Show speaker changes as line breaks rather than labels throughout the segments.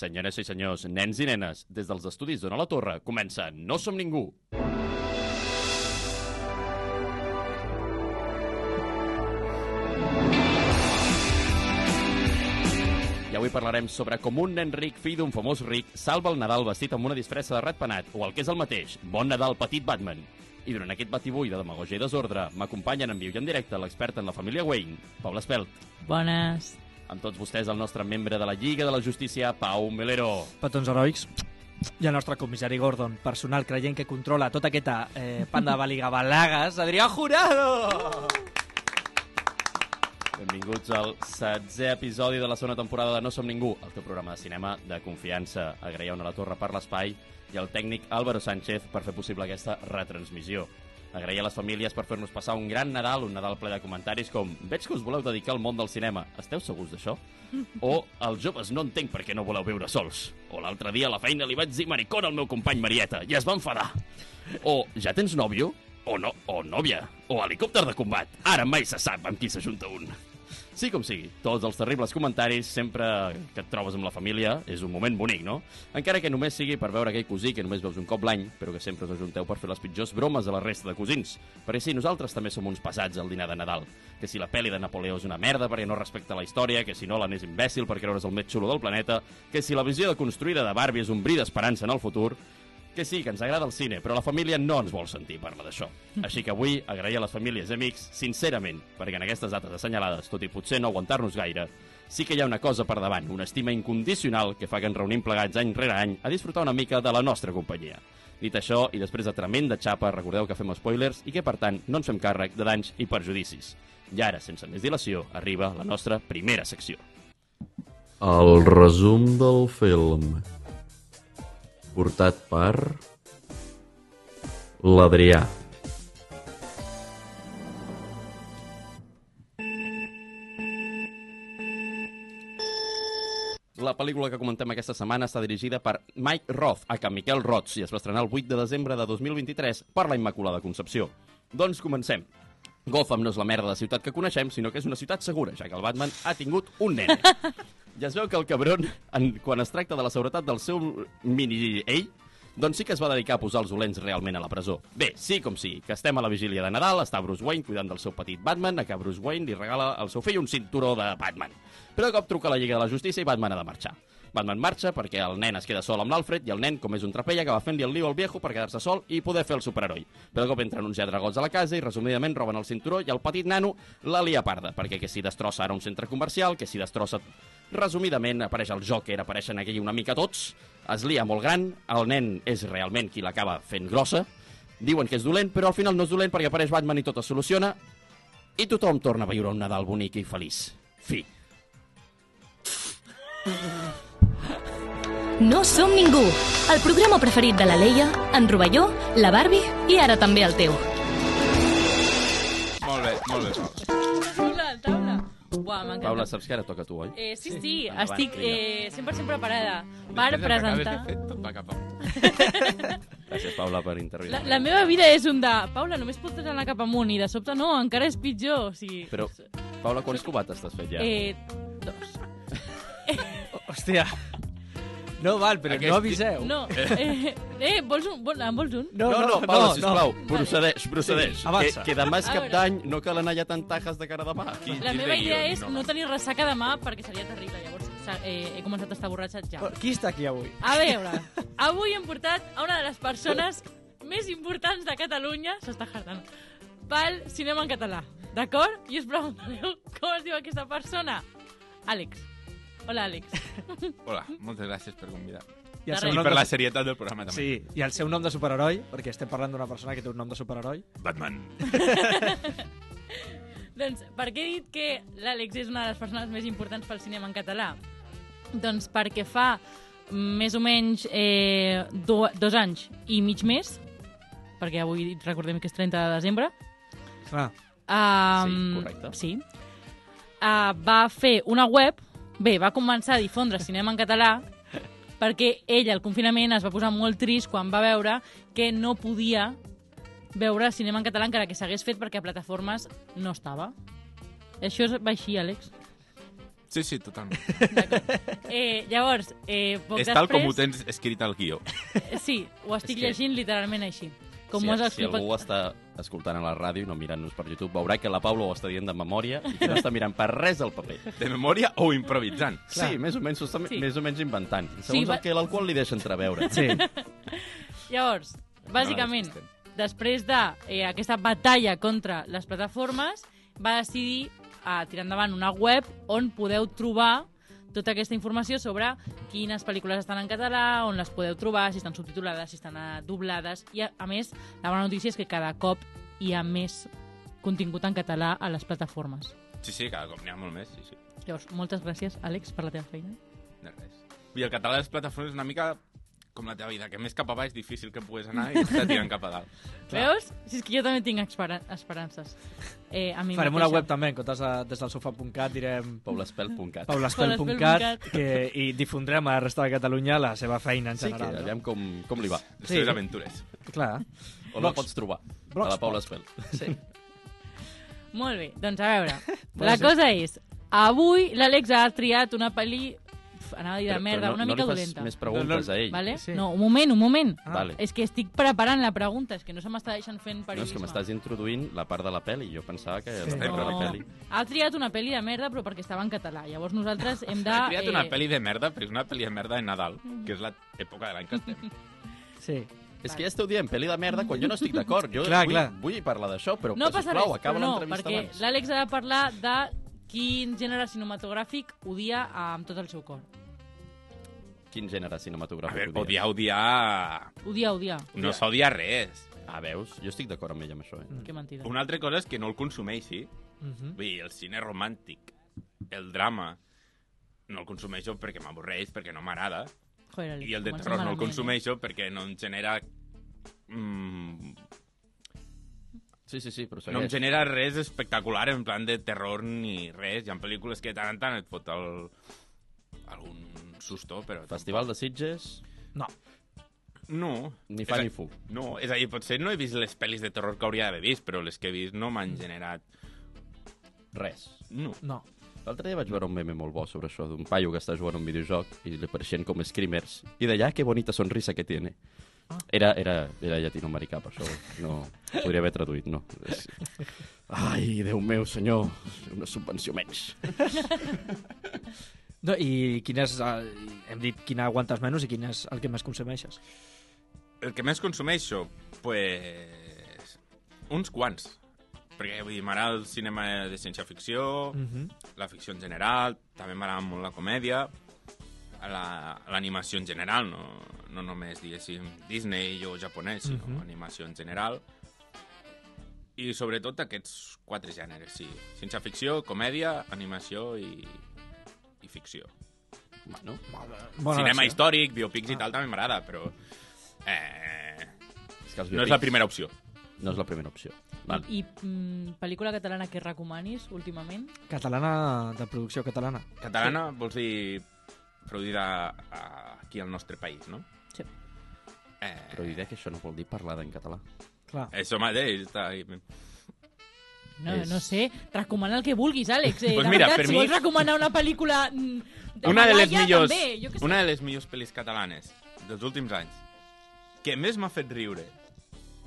Senyores i senyors, nens i nenes, des dels estudis d'Ona la Torre comença No som ningú. I avui parlarem sobre com un nen ric, fill d'un famós ric, salva el Nadal vestit amb una disfressa de ratpenat, o el que és el mateix, Bon Nadal, petit Batman. I durant aquest batibull de demagogia i desordre, m'acompanyen en viu i en directe l'expert en la família Wayne, Pablo Espelt.
Bones.
Amb tots vostès, el nostre membre de la Lliga de la Justícia, Pau Melero.
Petons heroics. I el nostre comissari Gordon, personal creient que controla tota aquesta eh, panda de baligabalagues, Adrià "Oh, Jurado!
Benvinguts al setzè episodi de la segona temporada de No som ningú, el teu programa de cinema de confiança. Agraïeu a la Torre per l'espai i al tècnic Álvaro Sánchez per fer possible aquesta retransmissió. Agrair a les famílies per fer-nos passar un gran Nadal, un Nadal ple de comentaris com «Veig que us voleu dedicar al món del cinema, esteu segurs d'això?» o «Els joves no entenc per què no voleu viure sols» o «L'altre dia a la feina li vaig dir maricona al meu company Marieta i es va enfadar» o «Ja tens nòvio?» o no, o nòvia, o helicòpter de combat. Ara mai se sap amb qui s'ajunta un. Sí com sigui, tots els terribles comentaris, sempre que et trobes amb la família, és un moment bonic, no? Encara que només sigui per veure aquell cosí que només veus un cop l'any, però que sempre us ajunteu per fer les pitjors bromes a la resta de cosins. Perquè sí, nosaltres també som uns passats al dinar de Nadal. Que si la pel·li de Napoleó és una merda perquè no respecta la història, que si no l'anés imbècil per creure's el més xulo del planeta, que si la visió de construïda de Barbie és un bri d'esperança en el futur, que sí, que ens agrada el cine, però la família no ens vol sentir parlar d'això. Així que avui agrair a les famílies i amics, sincerament, perquè en aquestes dates assenyalades, tot i potser no aguantar-nos gaire, sí que hi ha una cosa per davant, una estima incondicional que fa que ens reunim plegats any rere any a disfrutar una mica de la nostra companyia. Dit això, i després de tremenda xapa, recordeu que fem spoilers i que, per tant, no ens fem càrrec de danys i perjudicis. I ara, sense més dilació, arriba la nostra primera secció.
El resum del film portat per l'Adrià.
La pel·lícula que comentem aquesta setmana està dirigida per Mike Roth, a que Miquel Rots, i es va estrenar el 8 de desembre de 2023 per la Immaculada Concepció. Doncs comencem. Gotham no és la merda de ciutat que coneixem, sinó que és una ciutat segura, ja que el Batman ha tingut un nen. Ja es veu que el cabron, en, quan es tracta de la seguretat del seu mini-ell, doncs sí que es va dedicar a posar els dolents realment a la presó. Bé, sí com sí, que estem a la vigília de Nadal, està Bruce Wayne cuidant del seu petit Batman, a que Bruce Wayne li regala al seu fill un cinturó de Batman. Però de cop truca la Lliga de la Justícia i Batman ha de marxar. Batman marxa perquè el nen es queda sol amb l'Alfred i el nen, com és un trapella, acaba fent-li el lío al viejo per quedar-se sol i poder fer el superheroi. Però de cop entren uns lladregots a la casa i resumidament roben el cinturó i el petit nano la lia parda, perquè que si destrossa ara un centre comercial, que si destrossa... Resumidament, apareix el Joker, apareixen aquí una mica tots, es lia molt gran, el nen és realment qui l'acaba fent grossa, diuen que és dolent, però al final no és dolent perquè apareix Batman i tot es soluciona, i tothom torna a viure un Nadal bonic i feliç. Fi.
No som ningú, el programa preferit de la Leia, en Rovelló, la Barbie i ara també el teu.
Molt bé, molt bé.
Taula, taula. Uah, m'encanta.
Paula, saps que ara toca a tu, oi?
Eh, sí, sí,
Endavant,
estic
vinga.
eh, 100% preparada per
Després de que
presentar...
acabes de fer, tot va cap amunt.
Gràcies, Paula, per intervenir.
La, la meva vida és un de... Paula, només pots anar cap amunt i de sobte no, encara és pitjor. O sigui,
Però, Paula, quants cubates t'has fet ja?
Eh, dos.
Hòstia, no val, però
Aquest-
no aviseu.
No, eh, eh, vols un? Vol, en vols un?
No, no, no, Paula, sisplau, procedeix, procedeix.
Sí, avança.
que, que demà és
A
cap
veure.
d'any, no cal anar ja tant tajes de cara a demà.
Qui-
La
qui
meva
té
idea
guió?
és no tenir ressaca demà perquè seria terrible. Llavors s'ha- eh, he començat a estar borratxa ja.
Oh, Qui està aquí avui?
A veure, avui hem portat a una de les persones més importants de Catalunya, s'està jardant, pel cinema en català, d'acord? I us preguntareu com es diu aquesta persona. Àlex. Hola, Àlex.
Hola,
Mm.
moltes gràcies per convidar.
I el
Darrer.
seu
I
nom
per la
de...
serietat del programa, també.
Sí, i el seu nom de superheroi, perquè estem parlant d'una persona que té un nom de superheroi.
Batman.
Doncs, per què he dit que l'Àlex és una de les persones més importants pel cinema en català? Doncs perquè fa més o menys eh, do, dos anys i mig més, perquè avui recordem que és 30 de desembre,
Clar,
Um,
Sí, correcte.
Sí. Uh, va fer una web, bé, va començar a difondre cinema en català perquè ella, al confinament, es va posar molt trist quan va veure que no podia veure cinema en català encara que s'hagués fet perquè a plataformes no estava. Això és va així, Àlex.
Sí, sí, totalment.
Eh, llavors, eh, poc
És
després...
tal com ho tens escrit al guió.
Sí, ho
És
estic
que-
llegint literalment així. Com
si,
ho has
si
explicat...
algú està escoltant a la ràdio i no mirant-nos per YouTube, veurà que la Paula ho està dient de memòria i que no està mirant per res el paper.
De memòria o improvisant.
Sí, més o menys, s'ho està,
Sí.
més o menys inventant. Segons
va-
el que l'alcohol li deixa entreveure.
Sí.
Llavors, bàsicament,
No, no,
després d'aquesta de, eh, aquesta batalla contra les plataformes, va decidir eh, tirar endavant una web on podeu trobar tota aquesta informació sobre quines pel·lícules estan en català, on les podeu trobar, si estan subtitulades, si estan eh, doblades... I, a, a més, la bona notícia és que cada cop hi ha més contingut en català a les plataformes.
Sí, sí, cada cop n'hi ha molt més, sí, sí.
Llavors, moltes gràcies, Àlex, per la teva feina.
De res. I el català de les plataformes és una mica com la teva vida, que més cap a baix difícil que puguis anar i està tirant cap a dalt.
Veus? Si és que jo també tinc espera esperances. Eh, a mi
Farem
mateixa.
una web també, en comptes de, des del sofà.cat direm
Paulaspel.cat.
Paulaspel.cat.
paulaspel.cat que- i difondrem a la resta de Catalunya la seva feina en
Sí, que
general.
aviam com, com li va.
Les
Sí.
sí. teves aventures.
no? Clar.
On la
Blogs.
pots trobar? A la
Blogspot.
Paula Espel.
Molt bé, doncs a veure.
Bueno,
la
sí.
cosa és, avui l'Àlex ha triat una pel·li... Uf, anava a dir de merda,
no,
una
no
mica
li fas
dolenta.
més preguntes
No,
a ell.
Vale?
Sí.
No, un moment, un moment.
Ah.
Vale.
És que estic preparant la pregunta, és que no se m'està deixant fent
No, és
periodisme.
que m'estàs introduint la part de la pel·li. Jo pensava que la part de la
no.
pel·li...
Ha triat una pel·li de merda, però perquè estava en català. Llavors nosaltres hem de... eh, Mm.
He triat una pel·li de merda, però és una pel·li de merda de Nadal, que és l'època de l'any que estem.
Sí.
És que ja esteu dient pel·li de merda quan jo no estic d'acord. Jo
Clar,
vull,
clar.
vull parlar d'això, però
No passa
sisplau,
res,
acaba
però no,
l'entrevista
perquè
abans.
l'Àlex ha de parlar de quin gènere cinematogràfic odia amb tot el seu cor.
Quin gènere
A
cinematogràfic
veure, odiar, odiar...
Odia, odia.
No s'odia res.
Ah, veus? Jo estic d'acord amb ell amb això,
Mm.
eh?
Que mentida.
Una altra cosa és que no el consumeixi.
Mhm.
Vull dir, el cine romàntic, el drama, no el consumeixo perquè m'avorreix, perquè no m'agrada.
Joder, Àlex,
I el de
comencem
terror no el
malament, eh?
consumeixo perquè no em genera... Mm,
Sí, sí, sí, però
no em
segueix.
genera res espectacular en plan de terror ni res. Hi ha pel·lícules que de tant en tant et fot el, algun susto, però...
Festival de Sitges,
No.
No.
ni
És
fa
a-
ni fu.
No, és a dir, potser no he vist les pel·lis de terror que hauria d'haver vist, però les que he vist no m'han generat...
Res.
No.
No.
L'altre dia vaig veure un meme molt bo sobre això, d'un paio que està jugant a un videojoc i li apareixien com screamers. I d'allà, que bonita sonrisa que tiene.
Ah.
Era, era, era llatinoamericà, per això no ho podria haver traduït, no. És... Ai, Déu meu, senyor, una subvenció menys.
No, i quin és, el, hem dit quina aguantes menys i quin és el que més consumeixes.
El que més consumeixo, pues... uns quants. Perquè, vull dir, m'agrada el cinema de ciència-ficció,
Mhm.
la ficció en general, també m'agrada molt la comèdia, la- l'animació en general, no, no només, diguéssim, Disney o japonès, sinó
Mhm.
animació en general. I sobretot aquests quatre gèneres, sí. Ciència-ficció, comèdia, animació i, i ficció.
Bueno,
Bona versió.
Cinema
Ah.
històric, biopics i tal també m'agrada, però... Eh,
és que els
no és la primera opció.
No és la primera opció. Val.
I, i mm, pel·lícula catalana que recomanis últimament?
Catalana, de producció catalana.
Catalana vols dir produïda a- aquí al nostre país, no?
Sí.
Eh,
Però diré que això no vol dir parlar en català.
Clar.
Eh,
Eso mateix. Està...
No,
És-
no sé, recomana el que vulguis, Àlex. Eh,
Pues
de
mira,
veritat,
per
si
mi-
vols recomanar una pel·lícula mm, de
Una de les
Malaya,
millors,
També, jo que sé.
una de les millors pel·lis catalanes dels últims anys, que més m'ha fet riure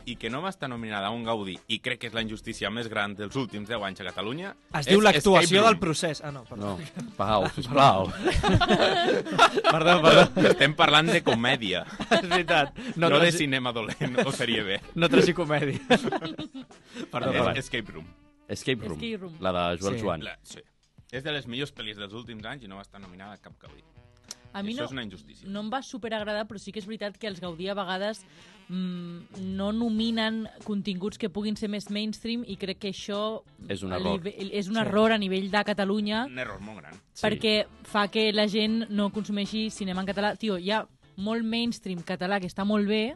i que no va estar nominada a un Gaudí i crec que és la injustícia més gran dels últims 10 anys a Catalunya...
Es
és
diu l'actuació
Escape
del
Room.
procés. Ah, no, perdó.
No, Pau, sisplau.
Perdó, perdó.
Estem parlant de comèdia,
és veritat.
no, de
tragi-
cinema dolent o sèrie B.
no tragicomèdia. perdó,
És
vale.
perdó.
Escape Room.
Escape Room,
Escape Room.
la de Joel
Sí.
Joan.
La, sí. És de les millors pel·lis dels últims anys i no va estar nominada a cap Gaudí.
A mi
Això
no,
és una injustícia.
no em va superagradar, però sí que és veritat que els Gaudí a vegades mm, no nominen continguts que puguin ser més mainstream i crec que això
És un
a
error.
nivell- és un
Sí.
error a nivell de Catalunya
Un error molt gran.
Sí.
perquè fa que la gent no consumeixi cinema en català. Tio, hi ha molt mainstream català que està molt bé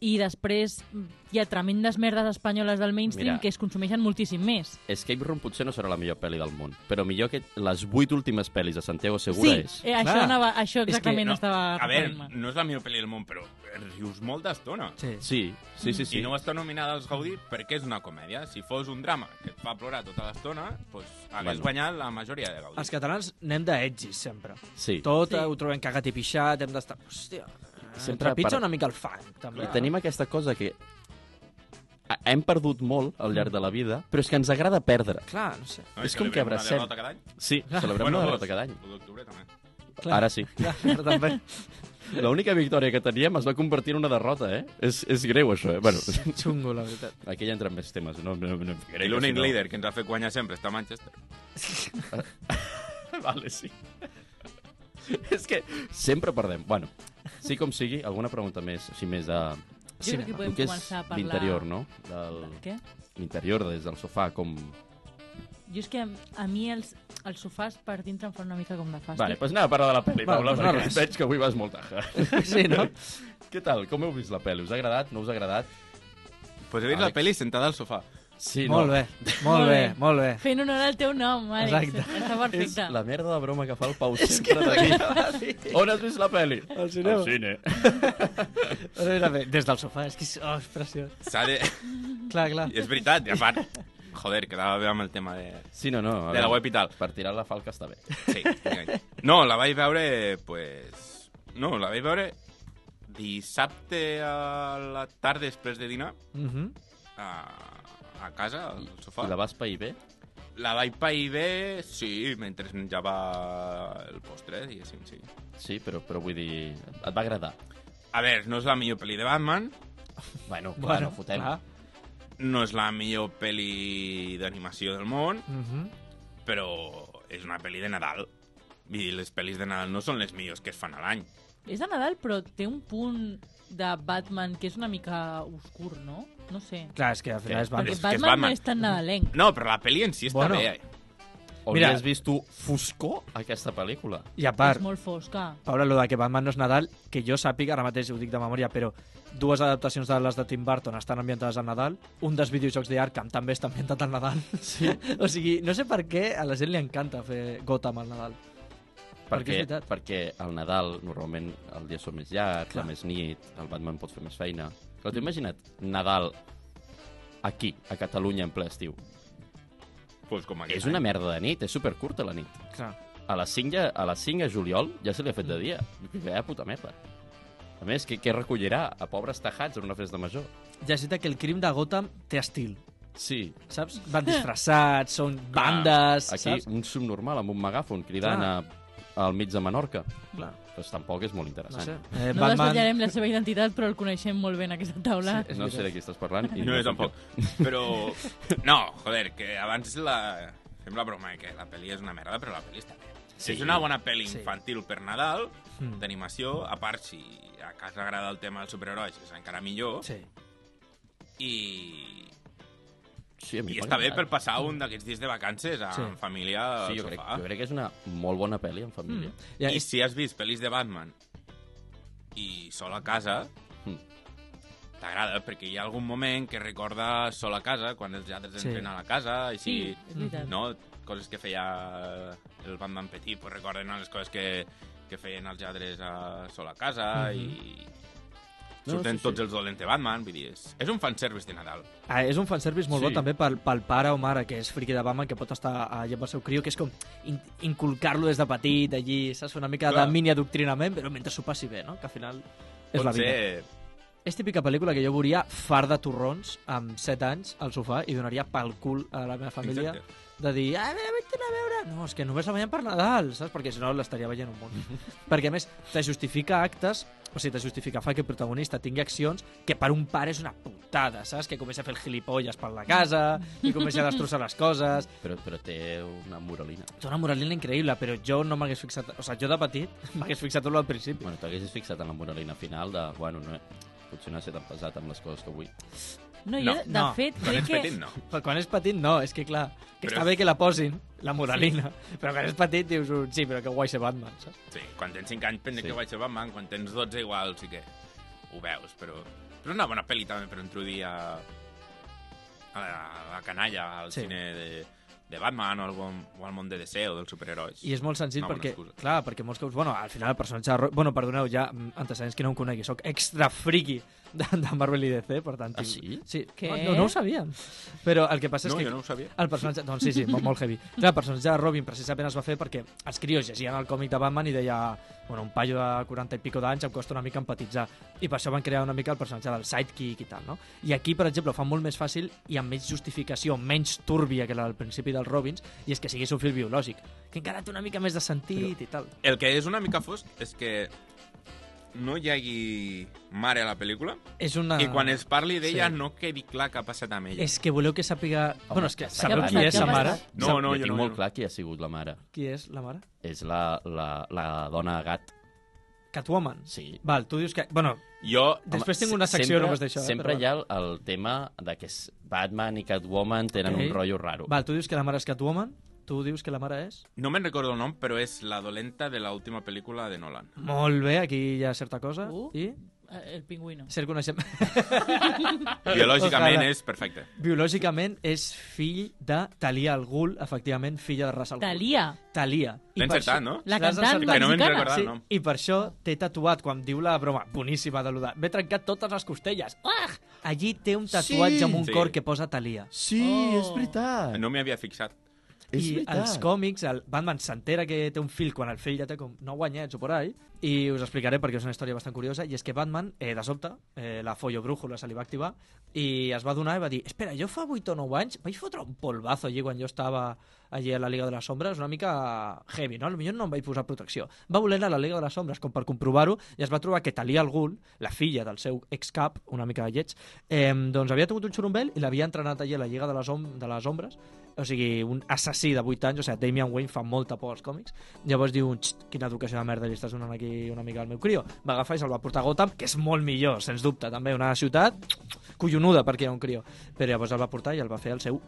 i després hi ha tremendes merdes espanyoles del mainstream
Mira.
que es consumeixen moltíssim més.
Escape Room potser no serà la millor pel·li del món, però millor que les vuit últimes pel·lis de Santiago Segura
sí,
és.
eh, això,
Clar.
anava, això
que
exactament
no,
estava
a veure,
referint-me.
no és la millor pel·li del món, però rius molta estona.
Sí.
Sí, sí, sí. sí.
I no està nominada als Gaudí perquè és una comèdia. Si fos un drama que et fa plorar tota l'estona, doncs hagués
Bueno.
guanyat la majoria de Gaudí.
Els catalans anem d'etgis, sempre.
sí.
Tot
Sí.
sí. ho trobem cagat i pixat, hem d'estar... Hòstia,
Sempre
sempre trepitja
per-
una mica el fang, també.
I tenim aquesta cosa que a- hem perdut molt al llarg de la vida, però és que ens agrada perdre.
Clar, no sé.
No,
és
i
com que
celebrem una
abracem.
derrota cada any.
Sí, celebrem una
Bueno, dos.
derrota cada any.
L'u d'octubre també.
Clar.
Ara sí.
Clar, també.
L'única victòria que teníem es va convertir en una derrota, eh? És, és greu, això, eh? Bueno,
Xungo, la veritat.
aquí ja entren més temes. No, no, no, em ficaré,
I l'únic
si no-
líder que ens ha fet guanyar sempre està a Manchester.
Vale, sí. és que sempre perdem. Bueno, sí com sigui, alguna pregunta més, així més de...
Jo crec que podem
el que és
començar a parlar...
l'interior, no? Del...
Què?
L'interior, des del sofà, com...
Jo és que a, a mi els, els sofàs per dintre em fan una mica com de fàstic.
Vale, doncs anem a parlar de la pel·li,
Va,
Paula,
doncs
perquè
res.
veig que avui vas molt taja.
Sí, no?
Què tal? Com heu vist la pel·li? Us ha agradat? No us ha agradat?
Pues he vist la
Àlex.
peli sentada al sofà.
Sí,
molt bé, molt bé, molt bé.
Fent honor al teu nom, Àlex.
Exacte.
Està
És
perfecte.
la merda de broma que fa el Pau sempre d'aquí. On has vist la pel·li?
Al cinema.
Al cine.
Mira, bé, Des del sofà, és que és, oh, és preciós.
S'ha de...
Clar, clar.
És veritat, i a part... Joder, quedava bé amb el tema de...
Sí, no, no. a
De la
veure,
web i tal.
Per tirar la falca està bé.
Sí, vinga. No, la vaig veure, pues... No, la vaig veure dissabte a la tarda després de dinar
Mm -hmm.
a, a casa, al sofà.
I la vas pair bé?
La vaig pair bé, sí, mentre menjava el postre, diguéssim, sí.
Sí, però, però vull dir... Et va agradar?
A veure, no és la millor pel·li de Batman,
Bueno, clar, no fotem.
Clar.
no és la millor pel·li d'animació del món,
Mm -hmm.
però és una pel·li de Nadal. Vull dir, les pel·lis de Nadal no són les millors que es fan a l'any.
És de Nadal, però té un punt de Batman que és una mica obscur, no? No sé.
clar, és que al final
Què?
és
Però
Perquè
Batman.
és que és
Batman,
Batman.
no és tan nadalenc.
No, però la pel·li en si està
Bueno.
bueno. bé. eh?
On
Mira.
has vist tu foscor aquesta pel·lícula?
I a
És
part,
molt fosca.
Paula, lo de que Batman no és Nadal, que jo sàpiga, ara mateix ho dic de memòria, però dues adaptacions de les de Tim Burton estan ambientades al Nadal, un dels videojocs de Arkham també està ambientat al Nadal. Sí. o sigui, no sé per què a la gent li encanta fer Gotham al Nadal. Perquè és
Perquè,
veritat.
perquè al Nadal normalment el dia són més llarg,
Clar.
la més nit, el Batman pot fer més feina. Però t'ho imagina't Nadal aquí, a Catalunya, en ple estiu.
Pues com aquest
És una
any.
merda de nit, és supercurta la nit.
Clar.
A les 5, ja, a les 5 de juliol ja se li ha fet de dia. Vaya puta merda. A més, què, què recollirà? A pobres tajats en una festa major.
Ja sé que el crim de Gotham té estil,
Sí,
saps? Van disfressats, són bandes,
aquí
saps?
un subnormal amb un megàfon cridant a,
Clar.
al mig de Menorca.
Clar,
Doncs tampoc és molt
no
interessant.
sé. Eh,
No desvetllarem la seva identitat, però el coneixem molt bé en aquesta taula.
Sí. És
no sé de
veritat.
qui estàs parlant. I
No, jo tampoc. Però... No, joder, que abans la... Fem la broma de que la pel·li és una merda, però la pel·li està bé.
Sí.
Sí. És una bona pel·li
Sí.
infantil per Nadal,
Mm.
d'animació, a part, si a casa agrada el tema dels superherois, és encara millor, sí.
Sí.
i...
Sí, a mi
I
m'ha
està bé per
agradat.
passar un d'aquests dies de vacances
Sí.
amb sí. família al
Sí, jo crec,
sofà.
jo crec que és una molt bona pel·li en família.
Ah, Mm.
I,
Ja, és...
si has vist pel·lis de Batman i Sol a casa,
Mm.
t'agrada, perquè hi ha algun moment que recorda Sol a casa, quan els altres
Sí.
sí. entren a la casa, així...
Sí, és veritat.
no? coses que feia el Batman petit, pues recorden les coses que, que feien els lladres a sol a casa
Mhm.
mm -hmm. i
No,
surten
sí, sí.
tots els dolents de Batman, vull dir, és, és un fanservice de Nadal.
Ah, és un fanservice molt
Sí.
sí. bo també pel, pel pare o mare que és friqui de Batman, que pot estar allà amb el seu criu, que és com in inculcar-lo des de petit, allí, saps? Una mica
Clar.
de mini-adoctrinament, però mentre s'ho passi bé, no? Que al final és la vida.
ser...
És típica pel·lícula que jo veuria far de torrons amb 7 anys al sofà i donaria pel cul a la meva família
Exacte.
de dir, ah, ve, vete a veure. No, és que només la veiem per Nadal, saps? Perquè si no l'estaria veient un munt. Perquè a més, te justifica actes, o sigui, te justifica fa que el protagonista tingui accions que per un pare és una putada, saps? Que comença a fer el gilipolles per la casa, i comença a destrossar les coses.
Però, però té una moralina.
Té una moralina increïble, però jo no m'hagués fixat... O sigui, jo de petit m'hagués fixat tot al principi.
Bueno, t'haguessis fixat en la moralina final de, bueno, no, potser no ha estat tan pesat amb les coses que vull.
No, jo,
No,
de
no.
fet,
Quan
crec
ets
que...
petit, no.
Però quan és petit, no, és que clar, que
Però-
està bé que la posin, la moralina, però quan és petit dius, un, sí, però que guai ser Batman, saps?
Sí, quan tens 5 anys pensa
Sí.
sí. que vaig ser Batman, quan tens 12 igual sí que ho veus, però... Però és una bona pel·li també per introduir a, a, la, a la canalla al
Sí.
sí. cine de, de Batman o al, bon, o al món de DC o dels superherois.
I és molt senzill
Una bona
perquè,
excusa.
clar, perquè molts cops, bueno, al final el personatge... de Ro- Bueno, perdoneu, ja, mm, antecedents que no em conegui, sóc extra friki de, de Marvel i DC, per tant...
Ah,
tinc-
sí?
Sí,
Què?
No, no, no ho sabíem. Però el que passa
No,
és que...
jo no ho sabia.
El personatge... Doncs sí, sí, molt, molt heavy. Clar, el personatge de Robin precisament es va fer perquè els crios llegien el còmic de Batman i deia bueno, un paio de 40 i pico d'anys em costa una mica empatitzar. I per això van crear una mica el personatge del sidekick i tal, no? I aquí, per exemple, ho fan molt més fàcil i amb més justificació, menys túrbia que la del principi dels Robins, i és que siguis un fill biològic, que encara té una mica més de sentit i tal.
El que és una mica fosc és que no hi hagi mare a la pel·lícula
És una...
i quan es parli d'ella
Ah, sí.
no quedi clar què ha passat amb ella.
És que voleu que sàpiga... Home, bueno, és que
està
sabeu
clar,
qui
està
és la
clar.
mare?
No,
Sap-
no,
jo
jo
tinc
no,
molt
jo no.
clar qui ha sigut la mare.
Qui és la mare?
És la, la, la dona gat.
Catwoman.
Sí.
Val, tu dius que... Bueno,
Jo,
després
Home,
tinc una
se-
secció només d'això. eh,
Sempre
però-
hi ha el, el tema de que s- Batman i Catwoman tenen
Ok.
okay. un rotllo raro.
Val, tu dius que la mare és Catwoman? Tu dius que la mare és?
no me'n recordo el nom, però és la dolenta de l'última pel·lícula de Nolan.
Molt bé, aquí hi ha certa cosa.
Uh.
I
El pingüino.
cert coneixem...
Biològicament
Eh, Ojalà.
és perfecte.
Biològicament és fill de Talia al Ghul, efectivament, filla de Ras al Ghul.
Thalia,
Talia. I
L'he
per
encertat,
això-
no?
la
L'has
cantant
encertat.
Que no m'he
mexicana.
recordat.
Sí,
el nom.
i per això té tatuat, quan diu la broma boníssima de l'Uda, m'he trencat totes les costelles. Ah! Allí té un tatuatge
Sí!
amb un
Sí.
cor que posa Talia.
Sí,
Oh.
veritat.
No m'hi havia fixat.
I als còmics, el Batman s'entera que té un fill quan el fill ja té com 9 anyets o por ahí, i us explicaré perquè és una història bastant curiosa, i és que Batman, eh, de sobte, eh, la follo brújula se li va activar, i es va donar i va dir, espera, jo fa 8 o 9 anys vaig fotre un polvazo allí quan jo estava allí a la Liga de les Sombres, una mica heavy, no? Potser no em vaig posar protecció. Va voler anar a la Liga de les Sombres com per comprovar-ho i es va trobar que Talia al Ghul, la filla del seu excap, una mica lleig, eh, doncs havia tingut un xurumbel i l'havia entrenat allí a la Lliga de les, Om de les Ombres o sigui, un assassí de 8 anys, o sigui, Damian Wayne fa molta por als còmics, llavors diu, "Xt, quina educació de merda li estàs donant aquí una mica al meu crio. Va agafar i se'l va portar a Gotham, que és molt millor, sens dubte, també, una ciutat collonuda perquè hi ha un crio. Però llavors el va portar i el va fer el seu,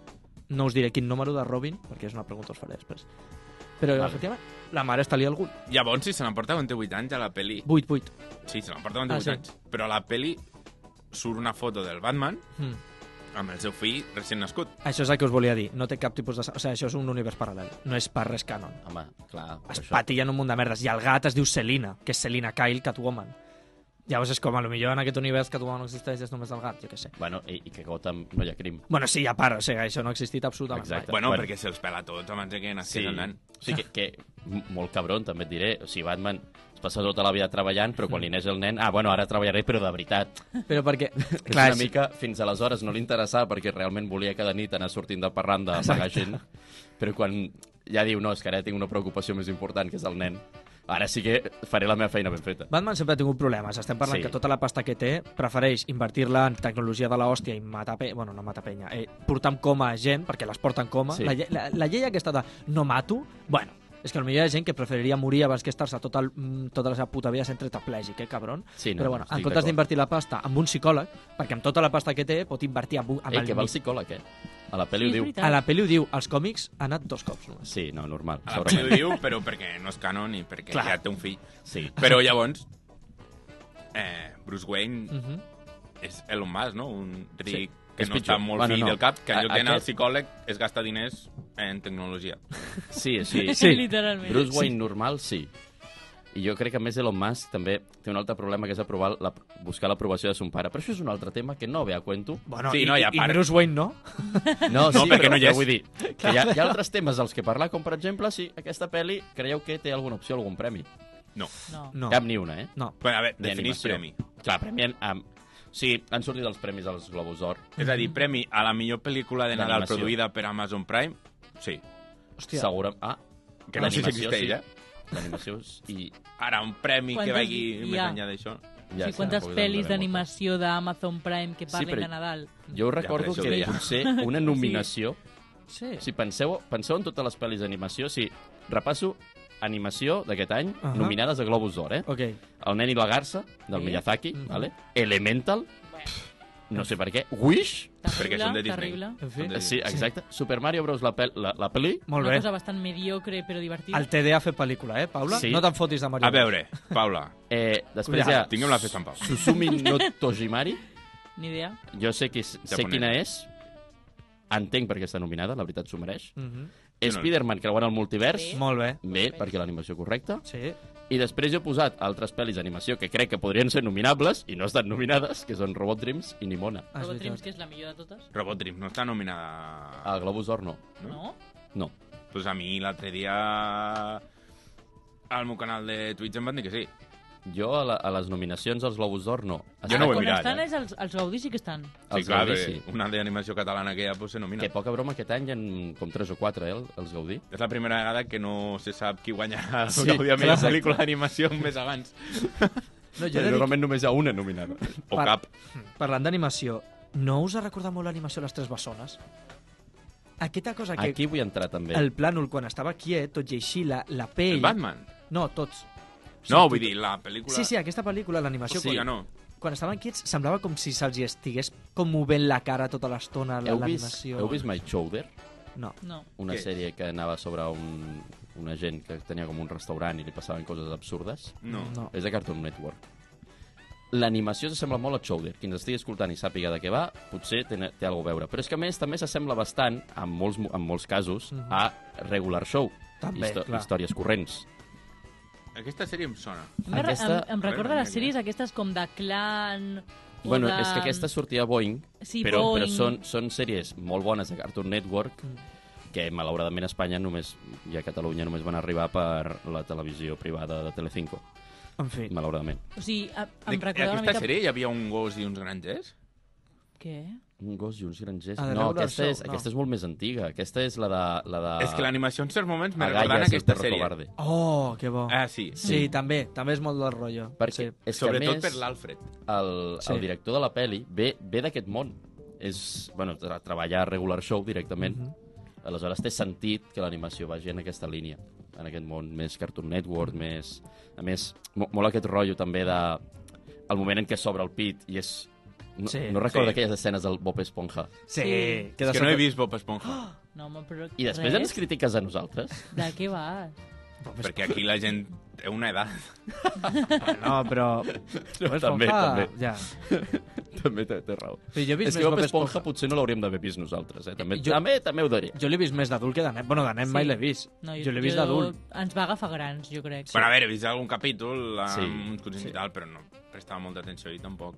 no us diré quin número de Robin, perquè és una pregunta que us faré després. Però,
Vale.
efectivament, la mare està li algú.
Llavors, si se n'emporta quan té 8 anys a la pel·li...
8, 8.
Sí, se n'emporta quan té
Ah,
8
sí.
anys. Però a la pel·li surt una foto del Batman
Mm.
amb el seu fill recent nascut.
Això és el que us volia dir. No té cap tipus de... O sigui, això és un univers paral·lel. No és per res canon.
Home, clar.
es
això-
patillen un munt de merdes. I el gat es diu Selina, que és Selina Kyle Catwoman. Llavors és com, a lo millor en aquest univers Catwoman no existeix, és només el gat, jo què sé.
Bueno, i, i que Gotham no hi ha crim.
Bueno, sí, a part, o sigui, això no ha existit absolutament
Exacte.
Bueno,
Bueno.
bueno, perquè se'ls pela tots abans de que nasqués el nen.
sí que, que m- molt cabron, també et diré. O sigui, Batman es passa tota la vida treballant, però quan li neix el nen... Ah, bueno, ara treballaré, però de veritat.
mai. Però perquè...
És
clar,
una mica, fins aleshores no li interessava perquè realment volia cada nit anar sortint de parranda a pagar gent, però quan ja diu, no, és que ara tinc una preocupació més important, que és el nen, ara sí que faré la meva feina ben feta.
Batman sempre ha tingut problemes. Estem parlant
Sí.
sí. que tota la pasta que té prefereix invertir-la en tecnologia de la hòstia i matar pe... Bueno, no matar penya. Eh, portar en coma a gent, perquè les porta en coma.
Sí.
Sí. La, lle- la, la llei aquesta de no mato, bueno, és que potser hi ha gent que preferiria morir abans que estar-se tota, el, mm, tota la seva puta vida sent tetraplègic, eh, cabron?
Sí, no,
Però bueno,
estic
en comptes
d'acord.
d'invertir la pasta amb un psicòleg, perquè amb tota la pasta que té pot invertir amb, un- amb
Ei, que
el...
va el
mig.
psicòleg, eh? A la pel·li ho
Sí, és
diu...
veritat.
A la pel·li ho diu, als còmics ha anat dos cops només.
Sí, no, normal,
A la pel·li ho
segurament.
diu, però perquè no és canon i perquè
Clar.
Clar. ja té un fill.
Sí.
Però llavors, eh, Bruce Wayne
Uh -huh.
és Elon Musk, no? Un ric
Mhm. Sí.
sí. que
És
no està
pitjor.
molt
Bueno,
bueno, fill
no.
no. del cap, que
A-
en lloc d'anar al
aquest-
psicòleg es gasta diners en tecnologia.
Sí, sí.
Sí.
Literalment.
Bruce Wayne normal, sí. I jo crec que a més Elon Musk també té un altre problema que és aprovar la, buscar l'aprovació de son pare. Però això és un altre tema que no ve a cuento.
Bueno,
Sí,
i,
no, i a
i
part-
Bruce Wayne no.
No, sí,
perquè
però
no hi és.
Vull dir, que hi ha, hi ha altres temes dels que parlar, com per exemple si aquesta pel·li creieu que té alguna opció, algun premi.
No.
No.
No.
Cap ni una, eh?
No.
Bueno, a veure,
Ni
definís
animació.
premi.
Clar, premi... En, um, sí, han sortit els premis als Globus d'Or.
És a dir, premi a la millor pel·lícula de Nadal
Mhm. D'animació.
produïda per Amazon Prime, sí.
Hòstia.
Segura... Ah,
Que no sé si
d'animació,
existeix,
sí.
eh?
D'animació és- i...
Ara, un premi
Quantes
que vagi
hi
més
ha?
enllà d'això.
Ja,
sí,
sí, quantes
tampoc
pel·lis
donaré moltes.
d'animació d'Amazon Prime que
Sí,
parlen
però-
de Nadal.
Jo recordo
això
ja, que
ho deia.
potser una nominació...
Sí.
Si penseu, penseu en totes les pel·lis d'animació, si repasso animació d'aquest any, uh
Ahà.
-huh. nominades a Globus d'Or, eh?
Ok.
El nen i la garça, del
Sí.
Miyazaki,
Mhm.
vale? Elemental, no sé per què, Wish,
Terrible,
Perquè són de Disney.
terrible.
En fi.
Doncs-
sí, exacte, Super Mario Bros. la, pel, la, la pel·li,
Molt
Una
bé.
cosa bastant mediocre però divertida.
El TD ha fet pel·lícula, eh, Paula?
Sí.
No te'n fotis de Mario.
A veure, Paula,
eh, després
Cuidado,
hi ha
tinguem la festa en pau.
Susumi no Tojimari,
Ni idea.
jo sé, qui, sé
Japonesa.
quina és, entenc per què està nominada, la veritat s'ho mereix.
Mhm.
Sí, no?
Spider-Man creuant el multivers,
Bé.
Molt bé.
bé, perquè l'animació correcta.
Sí.
I després jo he posat altres pel·lis d'animació que crec que podrien ser nominables i no estan nominades, que són Robot Dreams i Nimona.
Ah, és
Robot Dreams,
veritat.
que és la millor de totes.
Robot Dream no està nominada...
A Globus d'Or no.
No?
No?
No.
Pues a mi l'altre dia al meu canal de Twitch em van dir que sí.
Jo a, la, a les nominacions als Globus d'Or no.
Jo no ho
Ah,
he
quan
mirat,
estan
eh?
és els, els Gaudí sí que estan.
Sí,
Els
clar,
Gaudí,
bé,
sí.
una d'animació catalana que ja pues, se nomina.
Que poca broma aquest any en com 3 o 4, eh, el- els Gaudí.
És la primera vegada que no se sap qui guanyarà el
Sí,
sí, Gaudí a millor
exacte.
pel·lícula d'animació un mes abans.
No, jo he
Però
de dir,
normalment només hi ha una nominada.
O
Per-
cap.
parlant d'animació, no us ha recordat molt l'animació Les Tres Bessones? Aquesta cosa que
Aquí vull entrar també.
el plànol, quan estava quiet, tot i així, la, la pell...
El Batman.
No, tots. Sí,
No,
tot-
vull dir, la pel·lícula...
Sí, sí, aquesta pel·lícula, l'animació,
Sí,
sí.
ja no.
quan estaven quiets semblava com si se'ls hi estigués com movent la cara tota l'estona la-
Heu vist,
l'animació.
heu vist My Shoulder?
No.
No.
Una
Què és?
sèrie que anava sobre un, una gent que tenia com un restaurant i li passaven coses absurdes.
No.
no.
És de Cartoon Network. L'animació s'assembla molt a Chowder. Qui ens estigui escoltant i sàpiga de què va, potser té, té alguna a veure. Però és que, a més, també s'assembla bastant, en molts, mo- en molts casos,
Mhm.
a Regular Show.
També, clar.
Històries corrents.
Aquesta sèrie em sona.
Em, aquesta...
Aquesta-
em, em recorda
Bueno,
les sèries aquestes com de Clan... o
bueno,
de...
és que aquesta sortia a Boeing,
Sí,
però, però
Boeing.
són, són sèries molt bones de Cartoon Network
Mm.
que malauradament a Espanya només, i a Catalunya només van arribar per la televisió privada de Telecinco,
En fi.
malauradament.
O sigui, a-
De-
em recorda
en
una
aquesta
mica...
sèrie hi havia un gos i uns grangers?
Què?
Un gos i uns grangers.
Ah, de
No,
Regular
aquesta
Show,
és,
no.
aquesta és molt més antiga. Aquesta és la de... La de
És que l'animació en certs moments me
Agallas,
recordava
el
aquesta
perro
sèrie.
cobarde.
Oh, que bo.
Ah, sí.
sí, sí, també. També és molt del rotllo.
Perquè
Sí.
és que, a
Sobretot
més,
per l'Alfred.
el,
Sí.
el director de la peli ve, ve d'aquest món. És, bueno, tra- treballa a Regular Show directament.
Mhm.
Aleshores té sentit que l'animació vagi en aquesta línia, en aquest món més Cartoon Network, més... A més, mo molt aquest rotllo també de... El moment en què s'obre el pit i és... No,
Sí,
no recordo
sí.
aquelles escenes del Bob Esponja.
Sí.
Sí.
És que no he vist Bob Esponja.
No, home, però...
I després
res.
ens critiques a nosaltres?
De què vas?
Perquè aquí la gent té una edat.
No, però... No,
també, també.
Ja.
també té, té raó.
Sí, jo he vist
És
més
que Bob
Bob
Esponja potser no l'hauríem d'haver vist nosaltres, eh? També,
Jo-
jo... també, també ho diré.
Jo l'he vist més d'adult que de nen. Bueno, de nen
Sí.
sí. mai l'he vist. No, jo l'he vist d'adult.
Ens va agafar grans, jo crec.
Sí. Bueno, a veure, he vist algun capítol amb
Sí.
sí. uns sí. i tal, però no prestava molta atenció i tampoc.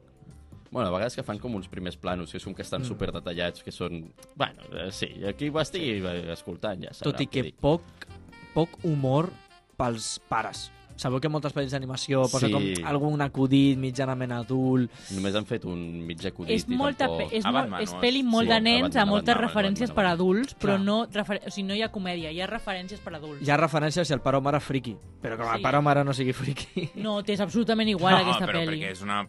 Bueno, a vegades que fan com uns primers planos, que són que estan mm. super detallats, que són... Bueno, eh, sí, aquí ho estigui eh, escoltant, ja sabrà
Tot i
què
que
dic.
poc, poc humor pels pares. Sabeu que moltes pel·lis d'animació posa
Sí.
com algun acudit mitjanament adult.
Només han fet un mig acudit
és,
i
molta,
tampoc...
pe- és,
A
molt,
Batman,
és
no?
pel·li molt
Sí,
de
a
nens,
Batman,
a
a
moltes
Batman, a
referències
Batman, a
per adults, però
Clar.
no, refer... o sigui, no hi ha comèdia, hi ha referències per adults.
Hi ha referències si el pare o mare friqui. Però com el
Sí.
pare o mare no sigui friqui...
No, t'és absolutament igual
no,
aquesta
però
pel·li.
perquè és una...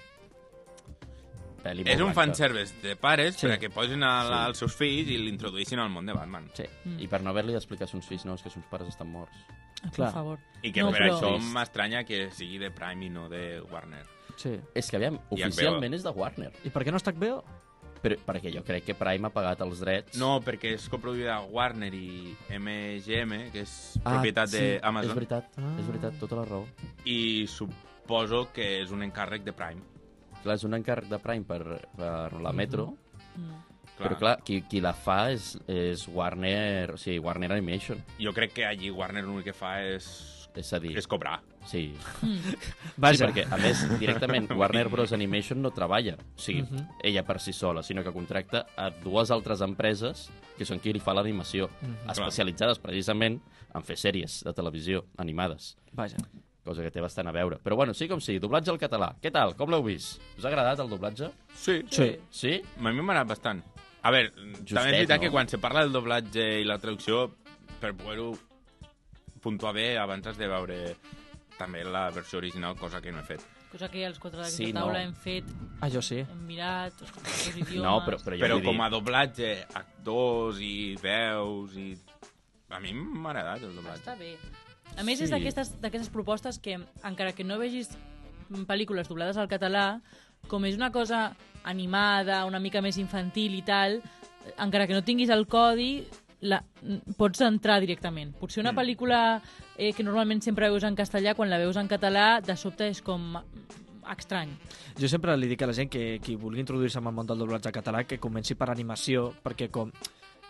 Pel·li molt
És un
blanca.
fanservice de pares
Sí.
sí. perquè posin a,
Sí.
sí. als seus fills i l'introduïssin al món de Batman.
Sí,
Mm.
i per no haver-li d'explicar a uns fills nous que uns pares estan morts.
Per
Clar.
favor.
I que
No,
no, per
però-
això m'estranya que sigui de Prime i no de Warner.
Sí.
És que, aviam,
I HBO.
oficialment és de Warner,
I per què no està HBO?
però, perquè jo crec que Prime ha pagat els drets.
No, perquè és coproduïda Warner i MGM, que és
ah,
propietat
sí, És
d'Amazon,
veritat, és veritat, tota la raó.
i suposo que és un encàrrec de Prime.
Clar, és un encàrrec de Prime per, per
Mm-hmm.
la Metro,
Mm.
Clar.
Però clar, qui, qui la fa és, és Warner, o sigui, Warner Animation.
Jo crec que allí Warner l'únic que fa és,
És a dir,
és cobrar.
sí.
Vaja.
Sí, perquè, a més, directament, Warner Bros. Animation no treballa. O sigui,
Mhm.
ella per si sola, sinó que contracta a dues altres empreses que són qui li fa l'animació,
Mhm.
especialitzades precisament en fer sèries de televisió animades.
Vaja.
Cosa que té bastant a veure. Però bueno, sí com sí, doblatge al català. Què tal? Com l'heu vist? Us ha agradat el doblatge?
Sí,
Sí.
Sí?
A mi m'ha agradat bastant. A veure, Justet, també és veritat
no?
no? que quan se parla del doblatge i la traducció, per poder-ho puntuar bé, abans has de veure també la versió original, cosa que no he fet.
Cosa que els quatre d'aquesta
Sí,
sí,
no.
taula hem fet,
Ah, jo sí.
hem mirat, els idiomes...
No, però, però
Però,
ja
Però
l'he dit.
com a doblatge, actors i veus i... A mi m'ha agradat el doblatge.
Està bé. A més,
Sí.
sí. és d'aquestes d'aquestes propostes que, encara que no vegis pel·lícules doblades al català, com és una cosa animada, una mica més infantil i tal, encara que no tinguis el codi, la, n- pots entrar directament. Potser una
Mm.
pel·lícula eh, que normalment sempre veus en castellà, quan la veus en català, de sobte és com mm, estrany.
Jo sempre li dic a la gent que qui vulgui introduir-se en el món del doblatge català que comenci per animació, perquè com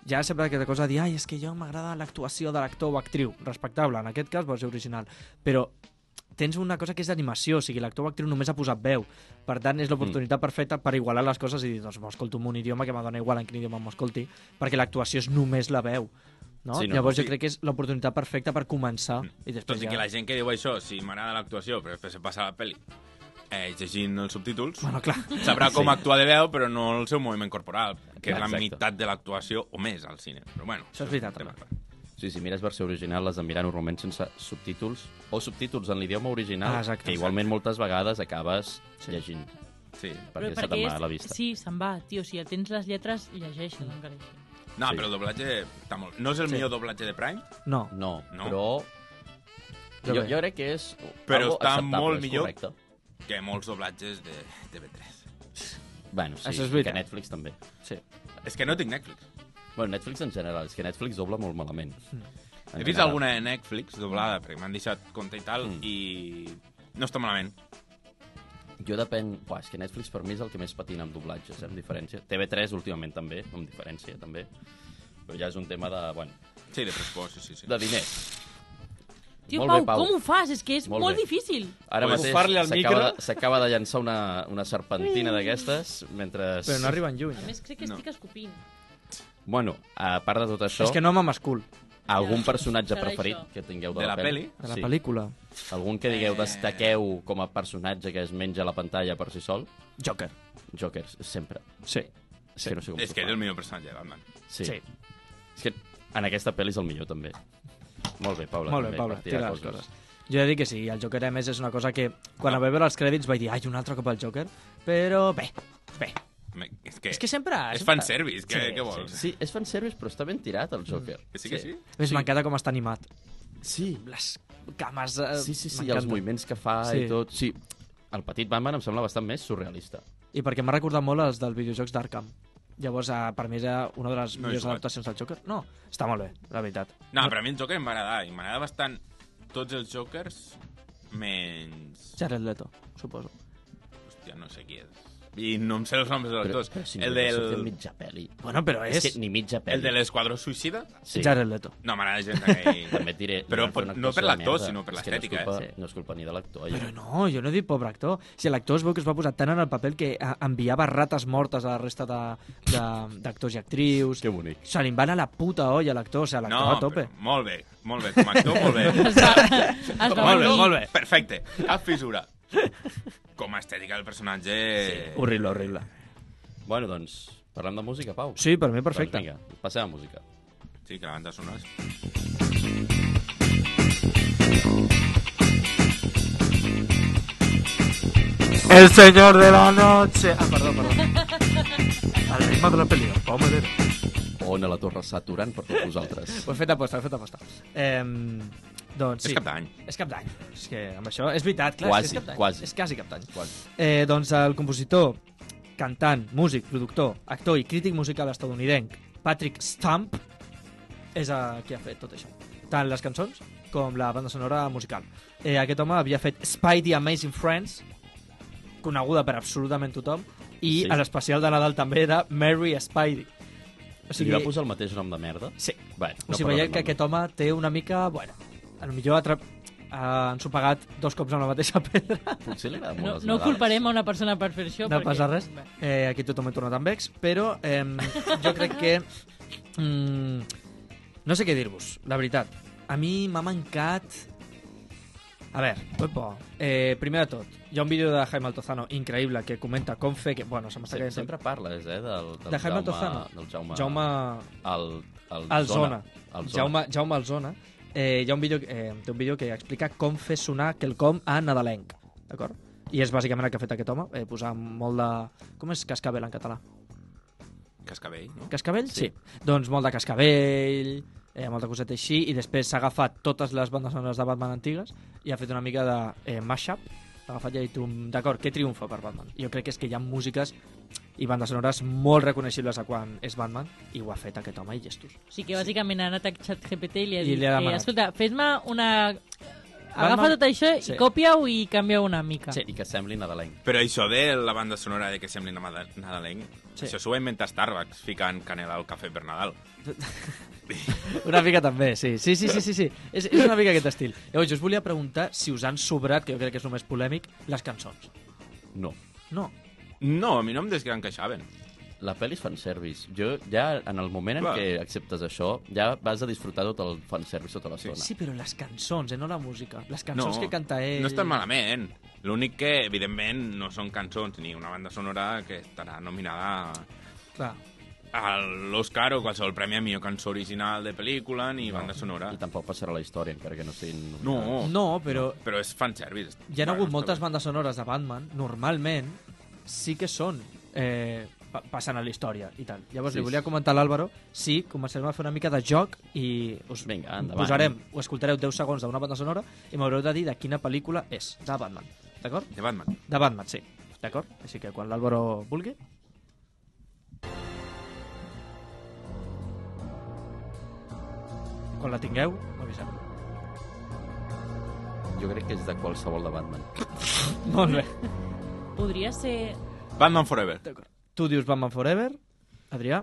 ja sempre aquesta cosa de dir ai, és que jo m'agrada l'actuació de l'actor o actriu. Respectable, en aquest cas vols ser original. Però tens una cosa que és d'animació, o sigui, l'actor o actriu només ha posat veu. Per tant, és l'oportunitat perfecta per igualar les coses i dir, doncs m'escolto en un idioma que m'adona igual en quin idioma m'escolti, perquè l'actuació és només la veu. No?
Sí,
Sí,
no,
no, Llavors
sí.
jo crec que és l'oportunitat perfecta per començar i després
Tot i que
ja...
la gent que diu això, si m'agrada l'actuació, però després se passa a la pel·li eh, llegint els subtítols,
Bueno, clar,
sabrà com
Sí.
actuar de veu, però no el seu moviment corporal, que és la
Exacte.
meitat de l'actuació o més al cine. Però bueno,
Això és
un
veritat,
tema
també.
clar.
Sí, si mires versió original, les de mirar normalment sense subtítols o subtítols en l'idioma original,
Ah, exacte,
que igualment moltes vegades acabes
Sí.
llegint,
Sí.
perquè se te'n va a la vista.
Sí, se'n va, tio. Si ja tens les lletres, llegeixes encara així.
No,
Sí.
però el doblatge està molt... No és el
Sí.
millor doblatge de Prime,
no.
No,
No.
però...
Però
Jo,
bé.
jo crec que és...
Però
algo
està
acceptable,
molt
és
millor.
Correcte.
que molts doblatges de TV3.
Bueno, sí,
Això és
que
veritat.
Netflix també.
Sí.
És que no tinc Netflix.
Bueno, Netflix en general, és que Netflix dobla molt malament. En
Mm. He vist
general.
alguna de Netflix doblada, perquè m'han deixat compte i tal,
Mm.
i no està malament.
Jo depèn... Buah, és que Netflix per mi és el que més patina amb doblatges, eh, amb diferència. TV3 últimament també, amb diferència també. Però ja és un tema de, bueno,
Sí, de pressupost, sí, sí. sí.
de diners.
Tio,
Molt
Pau,
bé, Pau.
com ho fas? És que és
Molt
molt, molt
bé.
difícil.
Ara
Pues
mateix
bufarle al
s'acaba
micro.
de, s'acaba de llançar una, una serpentina d'aquestes, mentre...
Però no arriben lluny.
A
Eh?
més, crec que
No.
estic escopint.
Bueno, a part de tot això,
És que no m'amas cool,
algun personatge
Serà
preferit
això.
que tingueu de,
De la
pel·li?
peli?
de la pel·lícula.
Algun que
Eh.
digueu, destaqueu com a personatge que es menja la pantalla per si sol?
Joker.
Joker, sempre.
Sí.
És que no sé com
És
s'ho
que és
fa.
el millor personatge de Batman.
Sí. sí. És que en aquesta pel·li és el millor, també. Molt bé, Paula.
Molt bé,
també,
Paula,
per tirar
tira les coses. Jo he de dir que sí, el Joker a més és una cosa que quan a veure els crèdits vaig dir, ai, un altre cop el Joker, però bé, bé.
Eh,
Me- És que,
És que sempre...
és
sempre-
fanservice, què,
Sí,
què vols? Mm.
Sí, és fanservice, però està ben tirat, el Joker.
Que sí que sí?
A més, m'encanta com està animat.
Sí,
Les cames...
Ah,
Eh,
sí, sí, sí
m'encanta.
els moviments que fa
Sí.
i tot. Sí, el petit Batman em sembla bastant més surrealista.
I perquè m'ha recordat molt els dels videojocs d'Arkham. Llavors, eh, per mi era una de les
No he
millors
jugat.
adaptacions del Joker. No, està molt bé, la veritat.
No, però a mi el Joker em va agradar, i m'agrada bastant tots els Jokers, menys...
Jared Leto, suposo.
Hòstia, no sé qui és. I no em sé els noms dels actors.
si no,
el
que surti en
del...
mitja pel·li.
Bueno, però és,
És que ni mitja pel·li.
El de l'esquadró suïcida?
Sí.
Jared Leto.
No, m'agrada gens aquell...
També et diré...
Però
van fer
per-
una
no per
actuació de
l'actor,
merda.
sinó per
És que
l'estètica,
No, és
eh?
culpa- no és culpa ni de l'actor. allò.
Però no, jo no he dit pobre actor. Si l'actor es veu que es va posar tan en el paper que eh, enviava rates mortes a la resta de- de- d'actors i actrius.
Que bonic.
Se li va anar la puta olla a l'actor, o sigui, l'actor
No,
a tope. Doncs
però molt bé, molt bé, com a actor, molt bé.
Es va, es va
Molt bé,
venir.
molt bé. Perfecte. Cap fissura. Com a estètica del personatge... eh, Sí,
Horrible, horrible.
Bueno, doncs, parlem de música, Pau.
Sí, per mi perfecte.
Doncs vinga, passem a música.
sí que la banda sonora... és-
El señor de la noche. Ah, perdó, perdó. El ritme de la pel·li, el Pau Madero.
On a la Torre Saturant per tots vosaltres.
Ho he fet aposta, ho he fet aposta. Eh, doncs sí.
És cap d'any.
És cap d'any. És que amb això és veritat, clar.
Quasi,
és que és cap d'any.
quasi.
És quasi cap d'any.
Quasi.
Eh, doncs el compositor, cantant, músic, productor, actor i crític musical estadounidenc Patrick Stump és eh, qui ha fet tot això. Tant les cançons com la banda sonora musical. Eh, aquest home havia fet Spy the Amazing Friends, coneguda per absolutament tothom, i
Sí.
sí. a l'especial de Nadal també de Mary Spidey. O
Li va posar el mateix nom de merda?
Sí.
Bueno,
No o
parlarem
sigui, veieu que
del
aquest home té una mica... Bueno, a lo millor atra... Uh, ens ho pagat dos cops amb la mateixa pedra.
nom. Potser li agrada molt
No,
les
no
Nadales.
culparem a una persona per fer això.
No
perquè-
passa res.
Bé.
Eh, aquí tothom he tornat amb ex, però eh, jo crec que... Mm, no sé què dir-vos, la veritat. A mi m'ha mancat... A veure, uepa. eh, primer de tot, hi ha un vídeo de Jaime Altozano increïble que comenta com fer... Que, bueno, se m'està
Sempre,
caient...
sempre parles, eh, del, del
De
Jaume...
Jaime Altozano.
Del Jaume...
Jaume...
El, el,
Alzona.
El Zona.
Jaume, Jaume Alzona. Eh, hi ha un vídeo, eh, té un vídeo que explica com fer sonar quelcom a nadalenc, d'acord? I és bàsicament el que ha fet aquest home, eh, posar molt de... Com és cascabel en català?
Cascabell, no?
Cascabell?
Sí.
Sí. Doncs molt de cascabell, eh, molta coseta així, i després s'ha agafat totes les bandes sonores de Batman antigues i ha fet una mica de eh, mashup, l'ha agafat i ha dit, un- d'acord, què triomfa per Batman? Jo crec que és que hi ha músiques i bandes sonores molt reconeixibles a quan és Batman, i ho ha fet aquest home i gestos.
O sigui que bàsicament ha anat a ChatGPT i li ha
I
dit,
li ha
eh,
demanat.
escolta, fes-me una Agafa
Batman-
tot això
Sí.
i copia-ho i canvia una mica.
Sí, i que sembli nadalenc.
Però això de la banda sonora de que sembli namada- nadalenc,
Sí.
sí. això s'ho va inventar Starbucks ficant canela al cafè per Nadal.
Una mica també, sí. Sí, sí, sí, sí, sí. És, és una mica aquest estil. Llavors, jo us volia preguntar si us han sobrat, que jo crec que és el més polèmic, les cançons.
No.
No.
No, a mi no em desgranqueixaven.
La pel·li és fanservice. Jo, ja, en el moment en
Clar.
què acceptes això, ja vas a disfrutar tot el fanservice tota l'estona.
Sí, però les cançons, eh? No la música. Les cançons
no,
que canta ell...
No estan malament. L'únic que, evidentment, no són cançons ni una banda sonora que estarà nominada
Clar.
a l'Oscar o qualsevol premi a millor cançó original de pel·lícula ni no. banda sonora.
I tampoc passarà la història, encara que no siguin...
No, no,
No, però
però és fanservice.
hi ha
Bueno,
hagut
està
moltes
bé.
bandes sonores de Batman, normalment, sí que són... Eh, pa- passant a la història i tal. Llavors
Sí,
li volia
sí.
comentar a l'Àlvaro si començarem a fer una mica de joc i us
Vinga, endavant.
posarem, o escoltareu 10 segons d'una banda sonora i m'haureu de dir de quina pel·lícula és, de Batman. D'acord?
De Batman.
De Batman, sí. D'acord? Així que quan l'Àlvaro vulgui... Quan la tingueu, m'aviseu.
Jo crec que és de qualsevol de Batman.
Molt bé.
Podria ser...
Batman Forever.
D'acord. Tu dius Batman Forever, Adrià.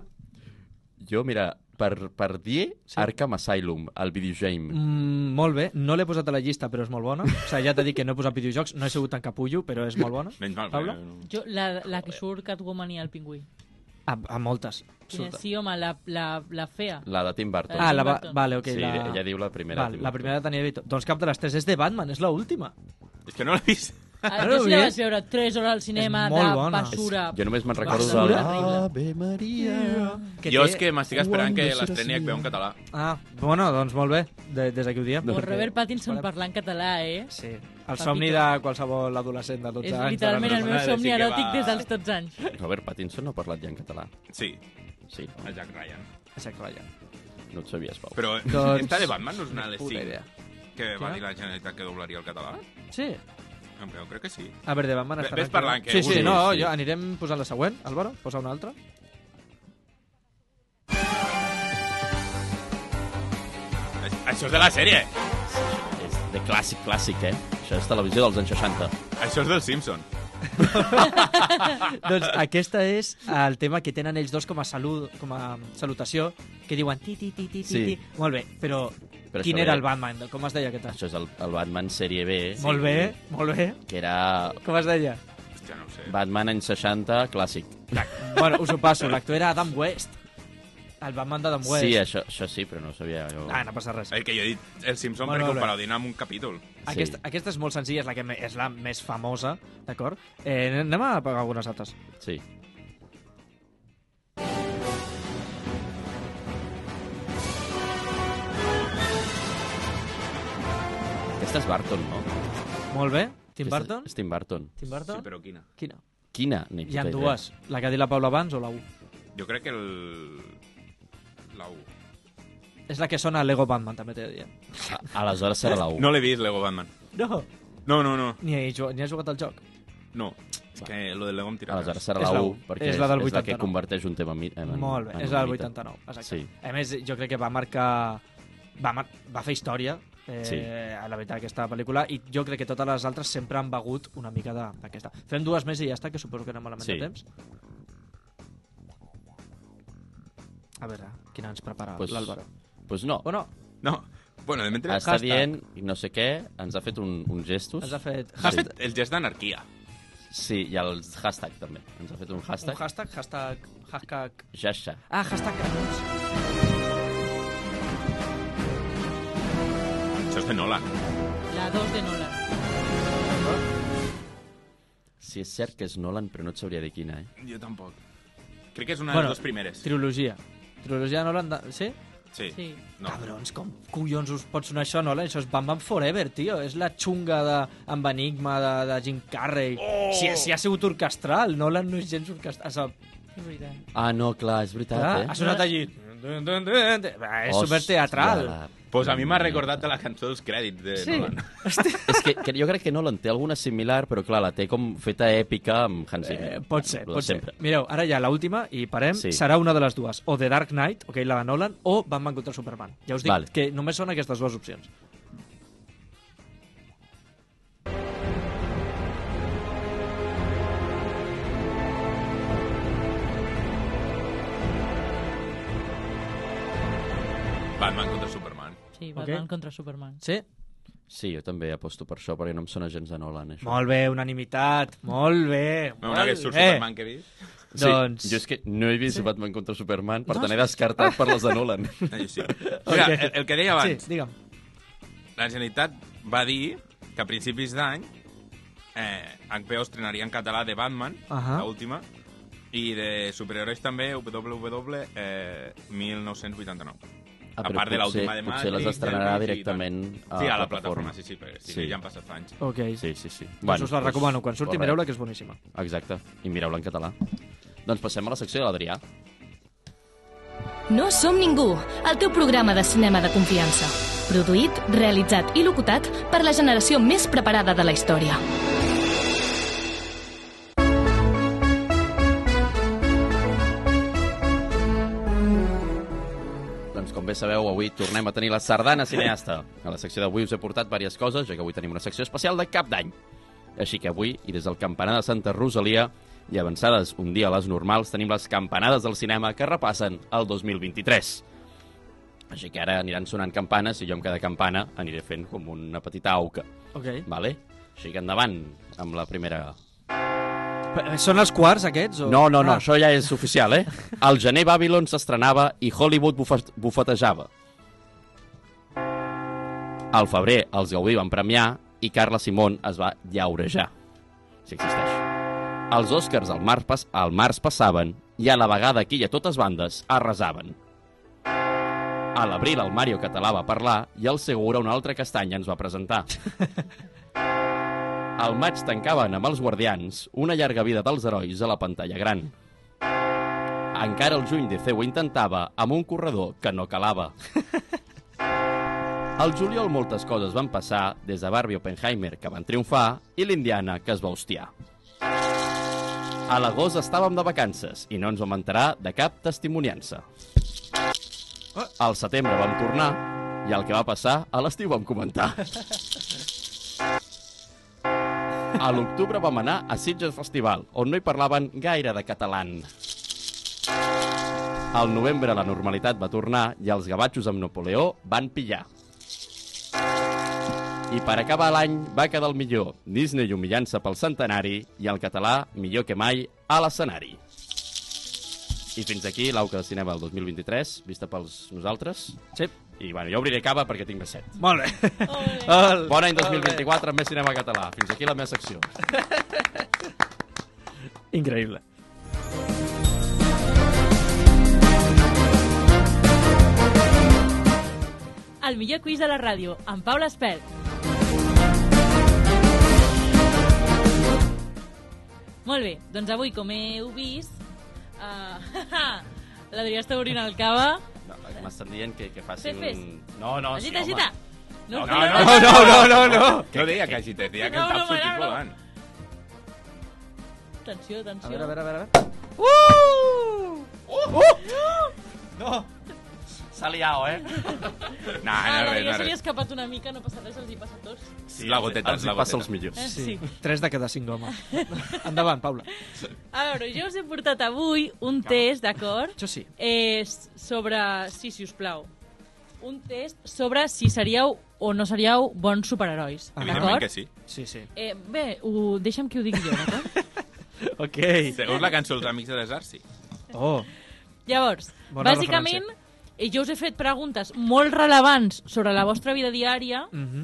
Jo, mira, per, per dir
Sí.
sí. Arkham Asylum, el videogame.
Mm, molt bé. No l'he posat a la llista, però és molt bona. O sigui, ja t'he dit que no he posat videojocs, no he sigut tan capullo, però és molt bona.
Menys mal.
Pablo?
perquè-
Jo, la, la que surt Catwoman i el pingüí.
A, a moltes.
Quina,
Surt.
sí, home, la, la, la fea.
La de Tim Burton.
Ah, la, va,
Burton.
vale, ok.
Okay, sí,
la...
ella diu la primera.
Val, la primera tenia vist. Doncs cap de les tres és de Batman, és l'última.
És que no l'he vist.
Ah,
no
jo sí la
l'he
vaig
vist.
veure 3 hores al cinema
És
de
molt bona.
basura.
Jo només me'n recordo
Basura
de
horrible.
l'Ave Maria.
Jo és que m'estic esperant que
Wonder
l'estreni
Seria.
et veu en català.
Ah, bueno, doncs molt bé, de, des d'aquí ho
Doncs-
diem.
Amb el Robert Pattinson
Esperem.
parlant català, eh?
Sí, el somni de qualsevol adolescent de 12
És
anys.
literalment el meu
Madre, sí
somni
que
eròtic
va.
des dels 12 anys.
Robert Pattinson no ha parlat ja en català.
Sí,
Sí,
el Jack Ryan.
Exacte, vaja.
no et sabies, Pau.
Però
Doncs-
doncs... està de Batman no és una de les
Puta
5
idea.
que va
Clar.
dir la Generalitat que doblaria el català?
Sí.
Em creu, crec que sí.
A veure, de Batman
Ve-
està...
ves parlant, que
Sí, sí,
vulguis,
no,
sí.
jo anirem posant la següent. Álvaro, posa una altra.
Ai- Això és de la sèrie!
És de clàssic, clàssic, eh? Això és televisió dels anys 60.
Això és del Simpson.
doncs aquesta és el tema que tenen ells dos com a, salut, com a salutació, que diuen ti, ti, ti, ti, ti,
Sí.
ti. Molt bé, però,
Però
quin
això
era
ve-
el Batman? Com es deia aquest?
Això és el, el Batman sèrie B.
Molt bé, molt bé.
Que era
Com es deia?
Hòstia, no ho sé.
Batman anys 60, clàssic.
bueno, us ho passo, l'actor era Adam West. El Batman d'Adam West.
Sí, això, això sí, però no ho sabia jo.
Ah, no passa res.
El que jo he dit, el Simpson,
Molt
perquè
bé.
ho parodin amb un capítol.
Aquesta, aquesta és molt senzilla, és la, que me- és la més famosa, d'acord? Eh, anem a pagar algunes altres.
Sí. Aquesta és Barton, no?
Molt bé. Tim
Aquesta
Burton?
És Tim Burton.
Tim Burton?
Sí, però eh? quina?
Quina?
Quina? Ni
Hi ha
puta idea.
dues. La que ha dit la Paula abans o la 1?
Jo crec que el... La 1.
És la que sona a Lego Batman, també t'he de dir.
A- Aleshores serà la 1.
No l'he vist, Lego Batman.
No.
No, no, no.
Ni he, jugat, ni he jugat al joc.
No. És que lo del Lego em tira.
Aleshores serà
És
la
la
1,
u.
perquè
És la del
és la que
89.
converteix un tema mi- en, en
Molt bé,
en
és la
un
del
mite.
89, exacte.
Sí.
A més, jo crec que va marcar... Va, mar va fer història, eh,
Sí.
a la veritat, aquesta pel·lícula, i jo crec que totes les altres sempre han begut una mica de- d'aquesta. Fem dues més i ja està, que suposo que anem malament
Sí.
de temps. A veure, quina ens prepara
Pues-
l'Àlvaro?
Pues no,
O no,
No. Bueno, de mentre...
està
Hashtag.
dient no sé què, ens ha fet un, uns gestos.
ens ha fet...
Has fet el gest d'anarquia.
Sí, i el hashtag també. Ens ha fet un
Un
hashtag.
hashtag, hashtag, hashtag...
Jasha.
Ah, hashtag canons.
Això és de Nolan.
La 2 de Nolan.
Sí, és cert que és Nolan, però no et sabria dir quina, eh?
Jo tampoc. Crec que és una
Bueno,
de les dues primeres.
Trilogia. Trilogia Nolan, de... sí?
Sí.
Sí.
No.
Cabrons, com collons us pot sonar això, Nolan? Això és Batman Forever, tio. És la xunga de, amb Enigma de, de Jim Carrey. Oh! Si, si ha sigut orquestral, Nolan no és gens orquestral. O sigui,
És veritat.
Ah, no, clar, és veritat,
clar,
eh?
ha sonat allí. Va, És superteatral.
Pues a mi m'ha recordat de la cançó dels crèdits de
Sí.
Nolan.
És que, que jo crec que Nolan té alguna similar, però clar, la té com feta èpica amb Hans Zimmer.
Eh, pot ser,
Lo de
pot ser.
sempre.
Mireu, ara ja l'última i parem. Sí.
Sí.
Serà una de les dues. O The Dark Knight, ok, la de Nolan, o Batman contra Superman. Ja us dic
Vale.
que només són aquestes dues opcions.
Batman contra Superman.
Sí,
Ok.
Batman contra Superman.
Sí?
Sí, jo també aposto per això, perquè no em sona gens de Nolan, això.
Molt bé, unanimitat. Molt bé.
Bueno,
molt
una que surt
bé.
Superman que he vist.
Sí,
Doncs-
Jo és que no he vist sí. Batman contra Superman, per tant he descartat per les de Nolan.
Ah, jo sí. Mira,
Ok.
el, el que deia abans,
Sí, digue'm.
la Generalitat va dir que a principis d'any eh, HBO estrenaria en català de Batman, uh
Ahà.
-huh. l'última, i de superherois també, WW eh, 1989.
Ah,
a
però
part de l'última de
potser- Potser les
Matrix,
estrenarà
Elvis i
directament
tal. sí, a la plataforma, sí, sí, perquè sí,
Sí.
ja han passat anys.
Ok.
Sí, sí, sí. Bueno,
Doncs us la
doncs,
recomano. Quan surti,
correcte.
mireu-la, que és boníssima.
Exacte, i mireu-la en català. Doncs passem a la secció de l'Adrià.
No som ningú, el teu programa de cinema de confiança. Produït, realitzat i locutat per la generació més preparada de la història.
Doncs com bé sabeu, avui tornem a tenir la sardana cineasta. A la secció d'avui us he portat diverses coses, ja que avui tenim una secció especial de cap d'any. Així que avui, i des del campanar de Santa Rosalia, i avançades un dia a les normals, tenim les campanades del cinema que repassen el 2023. Així que ara aniran sonant campanes i jo amb cada campana aniré fent com una petita auca.
Ok.
Vale? Així que endavant amb la primera
Però Són els quarts, aquests? O...
No, no, no,
Ah,
això ja és oficial, eh? Al gener Babylon s'estrenava i Hollywood bufa- bufetejava. Al febrer els Gaudí van premiar i Carla Simón es va llaurejar, si existeix. Els Oscars al març, pas al març passaven i a la vegada aquí i a totes bandes arrasaven. A l'abril el Mario Català va parlar i el Segura una altra castanya ens va presentar. Al maig tancaven amb els guardians una llarga vida dels herois a la pantalla gran. Encara el juny de ho intentava amb un corredor que no calava. Al juliol moltes coses van passar, des de Barbie Oppenheimer, que van triomfar, i l'Indiana, que es va hostiar. A l'agost estàvem de vacances i no ens vam enterar de cap testimoniança. Al setembre vam tornar i el que va passar a l'estiu vam comentar. A l'octubre vam anar a Sitges Festival, on no hi parlaven gaire de catalán. Al novembre la normalitat va tornar i els gavatxos amb Napoleó van pillar. I per acabar l'any va quedar el millor, Disney humillant-se pel centenari i el català millor que mai a l'escenari. I fins aquí l'auca de cinema del 2023, vista pels nosaltres.
Sí.
I bueno, jo obriré cava perquè tinc més set.
Molt bé. Molt
Bon any
molt bé.
2024 amb més cinema català. Fins aquí la meva secció.
Increïble.
El millor quiz de la ràdio, amb Paula Espel. Molt bé, doncs avui, com heu vist, uh, l'Adrià està obrint el cava.
No, M'estan dient que, que faci
Fes, fes.
un... No,
Oh,
no,
Agita,
sí,
agita.
No,
el feu,
no, no,
el feu.
no, no, no.
No deia que agités, deia que
No,
el
no,
cap sortit
no, no.
volant.
Atenció, atenció.
A veure, a veure, a veure. Uh!
home. S'ha liat, eh?
No, no,
Ah,
res,
l'Adrià
no,
se li ha
res.
escapat una mica, no passa res, els hi passa a tots.
Sí, la goteta,
Els
la
hi passa els
goteta.
millors.
Eh,
Sí. Tres de cada cinc homes. Endavant, Paula.
A veure, jo us he portat avui un test, d'acord?
Això sí.
Eh, s- sobre... Sí, si us plau. Un test sobre si seríeu o no seríeu bons superherois,
Evidentment
d'acord?
que sí.
Sí, sí.
Eh, bé, ho, deixa'm que ho digui jo, d'acord?
Ok.
Segons la cançó dels Amics de les Arts, sí.
Oh.
Llavors,
Bona
bàsicament, eh, jo us he fet preguntes molt relevants sobre la vostra vida diària
Mhm.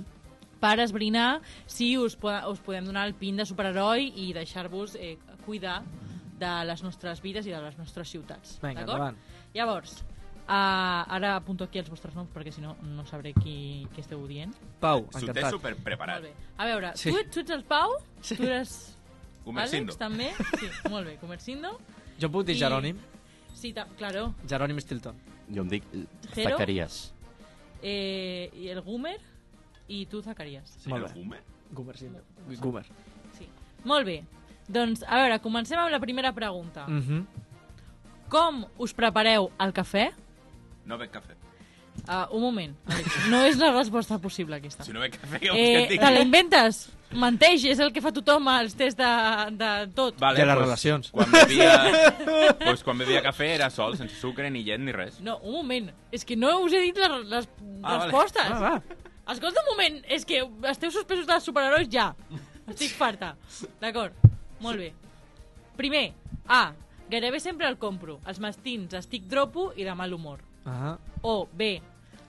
per esbrinar si us, po us podem donar el pin de superheroi i deixar-vos eh, cuidar de les nostres vides i de les nostres ciutats.
Vinga,
d'acord?
endavant.
Llavors, uh, ara apunto aquí els vostres noms perquè si no, no sabré qui, qui esteu dient.
Pau,
S'ho té
encantat.
superpreparat.
Molt bé. A veure,
Sí.
sí. tu, ets- tu ets el Pau?
Sí.
Tu eres
Comercindo.
Àlex, també? Sí, molt bé, Comercindo.
Jo puc dir
I-
Jerònim?
Sí, ta- claro.
Jerònim Stilton.
Jo em dic
Zero?
Zacaries.
Eh, I el Gumer i tu, Zacaries.
Sí,
Molt
el
bé.
Homer.
Goomer, sí. Goomer.
Sí. Molt bé. Doncs, a veure, comencem amb la primera pregunta.
Mm.
Mhm.
Com us prepareu el cafè?
No bec cafè.
Uh, un moment. Àlex. No és la resposta possible, aquesta.
Si no ve que fèieu, eh, que
Eh,
et
te la
digui.
inventes? Menteix, és el que fa tothom als tests de, de tot.
Vale, doncs,
De les relacions.
Quan bevia, pues, quan bevia cafè era sol, sense sucre, ni llet, ni res.
No, un moment. És que no us he dit les, les
Ah, vale.
respostes.
Ah, va.
Escolta un moment, és que esteu suspesos dels superherois ja. Estic farta. D'acord, molt bé. Primer, A. Gairebé sempre el compro. Els mastins, estic dropo i de mal humor.
Ah,
O B.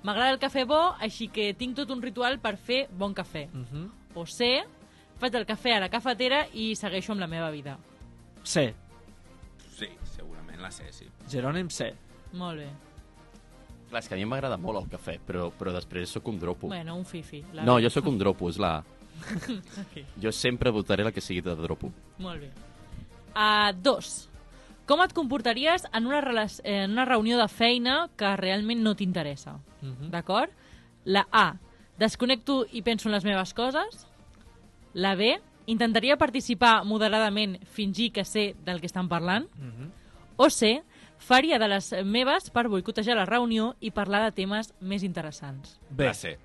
M'agrada el cafè bo, així que tinc tot un ritual per fer bon cafè.
uh -huh.
O C. Faig el cafè a la cafetera i segueixo amb la meva vida.
C.
Sí, segurament la sé, sí.
Jerònim C.
Molt bé.
Clar, és que a mi m'agrada molt el cafè, però, però després sóc un dropo.
Bueno, un fifi. La
No,
veritat.
jo sóc un dropo, és la A.
Ok.
Jo sempre votaré la que sigui de dropo.
Molt bé. A dos. Com et comportaries en una, rela- en una reunió de feina que realment no t'interessa?
Mhm.
D'acord? La A. Desconnecto i penso en les meves coses. La B. Intentaria participar moderadament, fingir que sé del que estan parlant.
Mhm.
O C. Faria de les meves per boicotejar la reunió i parlar de temes més interessants.
B.
La sé.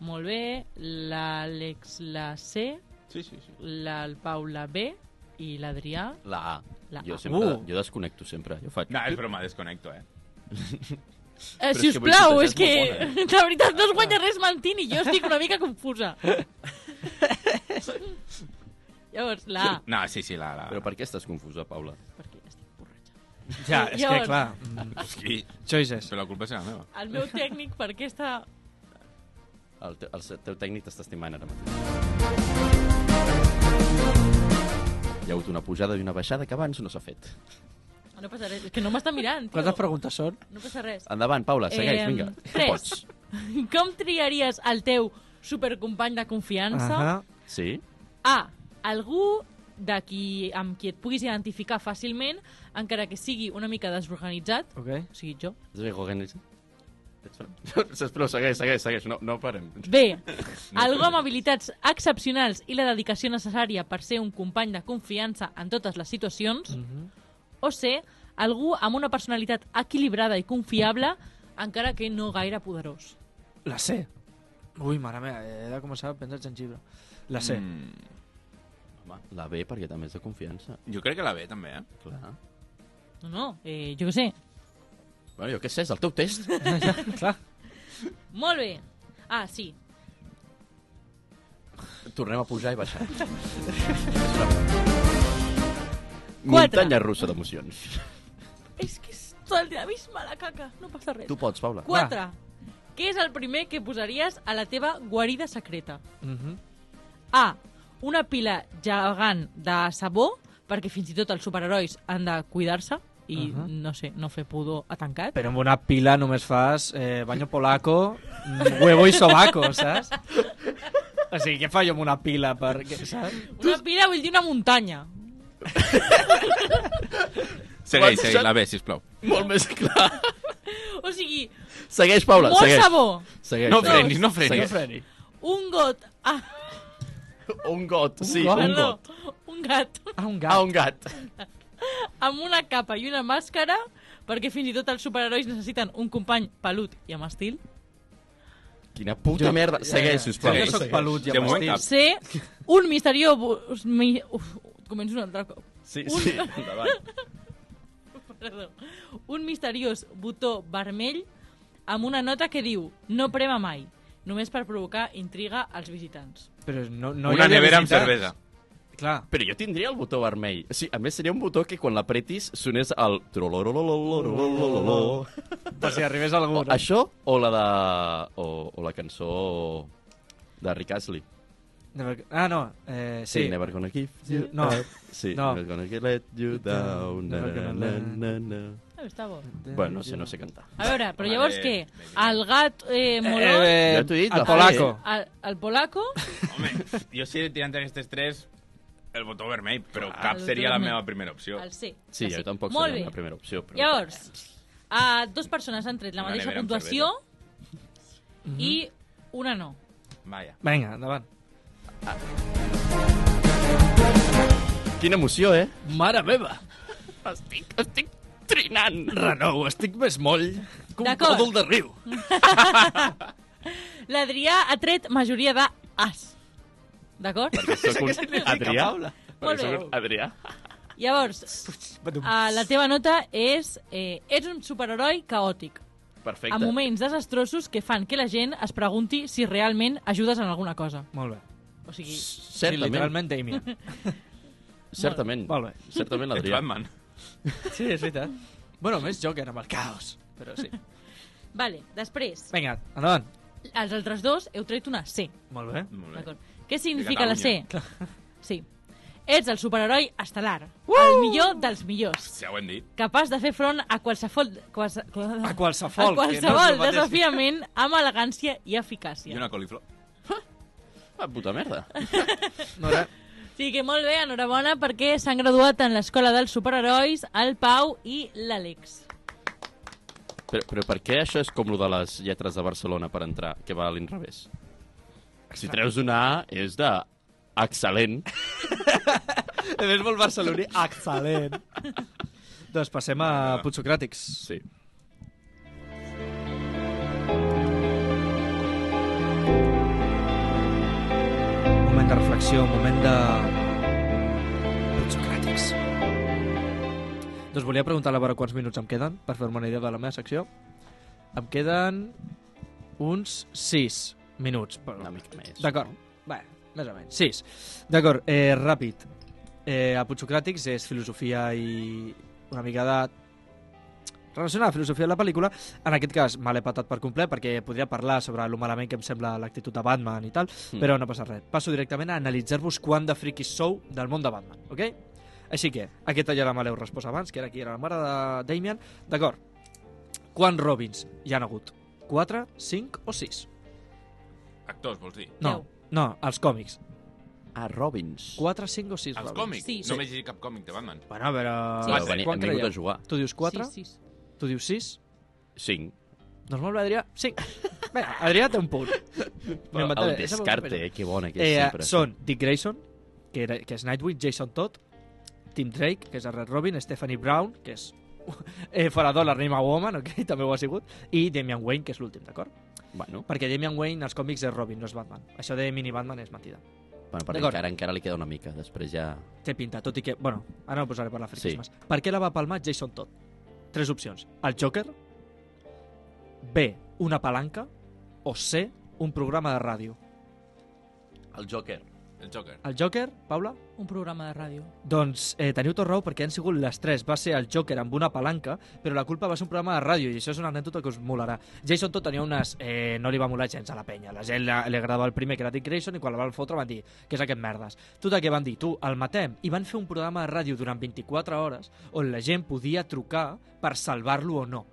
Molt bé. L'Àlex, la C.
Sí, sí, sí.
La, el Pau, la B. I l'Adrià,
La A.
La
jo,
A.
sempre,
Uh.
jo desconnecto sempre. Jo faig...
No, és broma, desconnecto, eh?
Eh,
Però
si
és
us
que
plau,
Boicotes
és que
és molt
la veritat no es guanya res mentint i jo estic una mica confusa. Llavors, la A,
No, sí, sí, la... la...
Però per què estàs confusa, Paula?
perquè estic borratxa.
Ja, és que
Llavors-
clar... mm,
Sí,
Choices.
però la culpa és la meva.
El meu tècnic, per què està...
El, te, el se- teu tècnic t'està estimant ara mateix. Hi ha hagut una pujada i una baixada que abans no s'ha fet.
No passa res, és que no m'està mirant, tio.
Quantes preguntes són?
No passa res.
Endavant, Paula, segueix,
Em,
vinga. Tu
tres.
Pots.
Com triaries el teu supercompany de confiança?
Ahà.
Sí?
A. Algú de qui, amb qui et puguis identificar fàcilment, encara que sigui una mica desorganitzat,
Ok.
o sigui, jo.
Però segueix, segueix, segueix, no, no parem.
B. Algú amb habilitats excepcionals i la dedicació necessària per ser un company de confiança en totes les situacions. O C. Algú amb una personalitat equilibrada i confiable, encara que no gaire poderós.
La C. Ui, mare meva, he de començar a prendre gengibre. La C. Mm.
Mm,
Home, la B perquè també és de confiança.
jo crec que la B, també, eh?
Clar.
No, no, eh, jo què sé.
Bueno, jo què sé, és el teu test.
Clar.
Molt bé. Ah, sí.
Tornem a pujar i baixar. Muntanya russa d'emocions.
És que és tot el dia abisme la caca. No passa res.
Tu pots, Paula.
4. Què és el primer que posaries a la teva guarida secreta?
Mm -hmm.
A. Una pila gegant de sabó, perquè fins i tot els superherois han de cuidar-se i, uh -huh.
Ahà.
no sé, no fer pudor a tancat.
Però amb una pila només fas eh, baño polaco, mm, huevo i sobaco, saps? O sigui, què fa jo amb una pila? Per... què, Saps?
Una pila vull dir una muntanya.
Segueix, segueix, la B, sisplau.
Molt més clar.
O sigui,
Segueix, Paula,
molt
segueix.
sabó,
Eh,
Segueix,
No
segueix.
frenis, no
No
frenis.
freni.
un got... Ah,
Un got, sí,
got?
un
perdó,
got.
un gat
Ah, un gat.
Ah, un gat.
amb una capa i una màscara perquè fins i tot els superherois necessiten un company pelut i amb estil.
Quina puta merda. Segueix, sisplau.
Segueix.
Jo soc pelut i
De
amb
moment,
Ah.
estils.
C, un misteriós... mi- Uf, començo un altre cop.
Sí,
Un-
sí, endavant.
Perdó. Un misteriós botó vermell amb una nota que diu no prema mai, només per provocar intriga als visitants.
Però no, no hi
Una
havia
nevera amb
visitants.
cervesa.
Clar.
Però jo tindria el botó vermell. Sí, a més, seria un botó que quan l'apretis sonés el... trololololololololololol.
Per si arribés algú.
O,
no?
això o la de... O, o la cançó de Rick Astley.
Never- Ah, no. Eh, sí.
Sí, Never gonna give you
No.
up. Sí,
No.
Never gonna let you down. Na,
Never
na,
gonna
na,
let-
na, na.
Eh, està bo.
Bueno, no sé, no sé cantar.
A veure, però
Vale,
llavors què?
bé.
El gat eh, moló, eh,
Eh,
Ja t'ho he dit,
el
la
polaco.
el, el polaco...
Home, jo si tirant aquestes tres, el botó vermell, però
El
cap
botó
seria la
vermell.
meva primera opció.
El C.
Sí,
que
jo tampoc
Molt
seria
bé.
la primera opció. Però...
Llavors, a dos persones han tret la
Una
mateixa
nevera amb
puntuació i una no.
Vaja.
Vinga, endavant.
Quina emoció, eh?
Mare meva.
Estic, estic trinant.
Renou, estic més moll que un
D'acord.
còdol de riu.
L'Adrià ha tret majoria de as. D'acord?
Soc un Adrià.
Molt
Perquè soc
bé.
un Adrià.
Llavors,
Doncs- Ah.
eh, la teva nota és... Eh, ets un superheroi caòtic,
Perfecte.
a moments desastrosos que fan que la gent es pregunti si realment ajudes en alguna cosa.
Molt bé.
O sigui,
Sí,
Certament,
literalment Damien.
certament.
Molt bé.
Certament
Ets
l'Adrià.
Batman.
Sí, és veritat. Bueno, més Joker amb el caos. Però sí.
vale, després,
Vinga, endavant.
els altres dos heu tret una C.
Molt bé.
Molt bé.
D'acord. Què significa la C?
Catalunya.
Sí. Ets el superheroi estel·lar, el millor dels millors,
Ja ho hem dit.
capaç de fer front a qualsevol... Qualse,
A
a
qualsevol. que no és
qualsevol
el mateix.
desafiament amb elegància i eficàcia.
I una coliflor.
Ah, puta merda.
No, era...
Sí, que molt bé, enhorabona, perquè s'han graduat en l'Escola dels Superherois el Pau i l'Àlex.
Però, però per què això és com lo de les lletres de Barcelona per entrar, que va a l'inrevés? Si treus una A, és de excel·lent.
És molt barceloní. Excel·lent. doncs passem a Putsocràtics.
Sí.
Un moment de reflexió, un moment de... Putsocràtics. Doncs volia preguntar-la a veure quants minuts em queden per fer-me una idea de la meva secció. Em queden uns 6 minuts. Però...
Una mica més.
D'acord. Bé, més o menys. Sis. D'acord, eh, ràpid. Eh, a Putsocràtics és filosofia i una mica de relacionada a la filosofia de la pel·lícula, en aquest cas me l'he patat per complet perquè podria parlar sobre lo malament que em sembla l'actitud de Batman i tal, mm. però no passa res. Passo directament a analitzar-vos quant de friquis sou del món de Batman, ok? Així que, aquesta ja la m'heu respost abans, que era qui era la mare de Damien. D'acord. Quants Robins hi han hagut? 4, 5 o 6?
Actors, vols dir?
No,
Deu.
no, als còmics.
A Robins.
4, 5 o 6
Els
Robins.
còmics?
Sí,
No
sí.
m'he llegit cap còmic de Batman.
Bueno, però...
Sí.
Però veni,
Quan
hem vingut
creieu?
a jugar.
Tu dius 4, sí,
Sí, sí.
sí. tu dius 6,
5.
doncs molt bé, Adrià, 5. Vinga, Adrià té un punt.
Però
M'inventaré,
el
esa
descarte,
m'ho
eh, que bona que és
Eh,
sempre.
són Dick Grayson, que, era, que és Nightwing, Jason Todd, Tim Drake, que és el Red Robin, Stephanie Brown, que és eh, Faradol, la Rima Woman, okay? també ho ha sigut, i Damian Wayne, que és l'últim, d'acord?
Bueno,
Perquè Damian Wayne als còmics és Robin, no és Batman. Això de mini Batman és mentida.
bueno perquè
D'acord.
encara, encara li queda una mica. Després ja...
Té pinta, tot i que... Bueno, ara ho posaré per la
Sí.
friquismes. Sí. Per què la va palmar Jason Todd? Tres opcions. El Joker, B, una palanca, o C, un programa de ràdio.
El Joker.
El Joker.
El Joker, Paula?
Un programa de ràdio.
Doncs eh, teniu tot raó perquè han sigut les tres. Va ser el Joker amb una palanca, però la culpa va ser un programa de ràdio i això és una anècdota que us molarà. Jason Todd tenia unes... Eh, no li va molar gens a la penya. La gent la, li agradava el primer, que era Dick Grayson, i quan la van fotre van dir que és aquest merdes. Tot el que van dir, tu, el matem. I van fer un programa de ràdio durant 24 hores on la gent podia trucar per salvar-lo o no.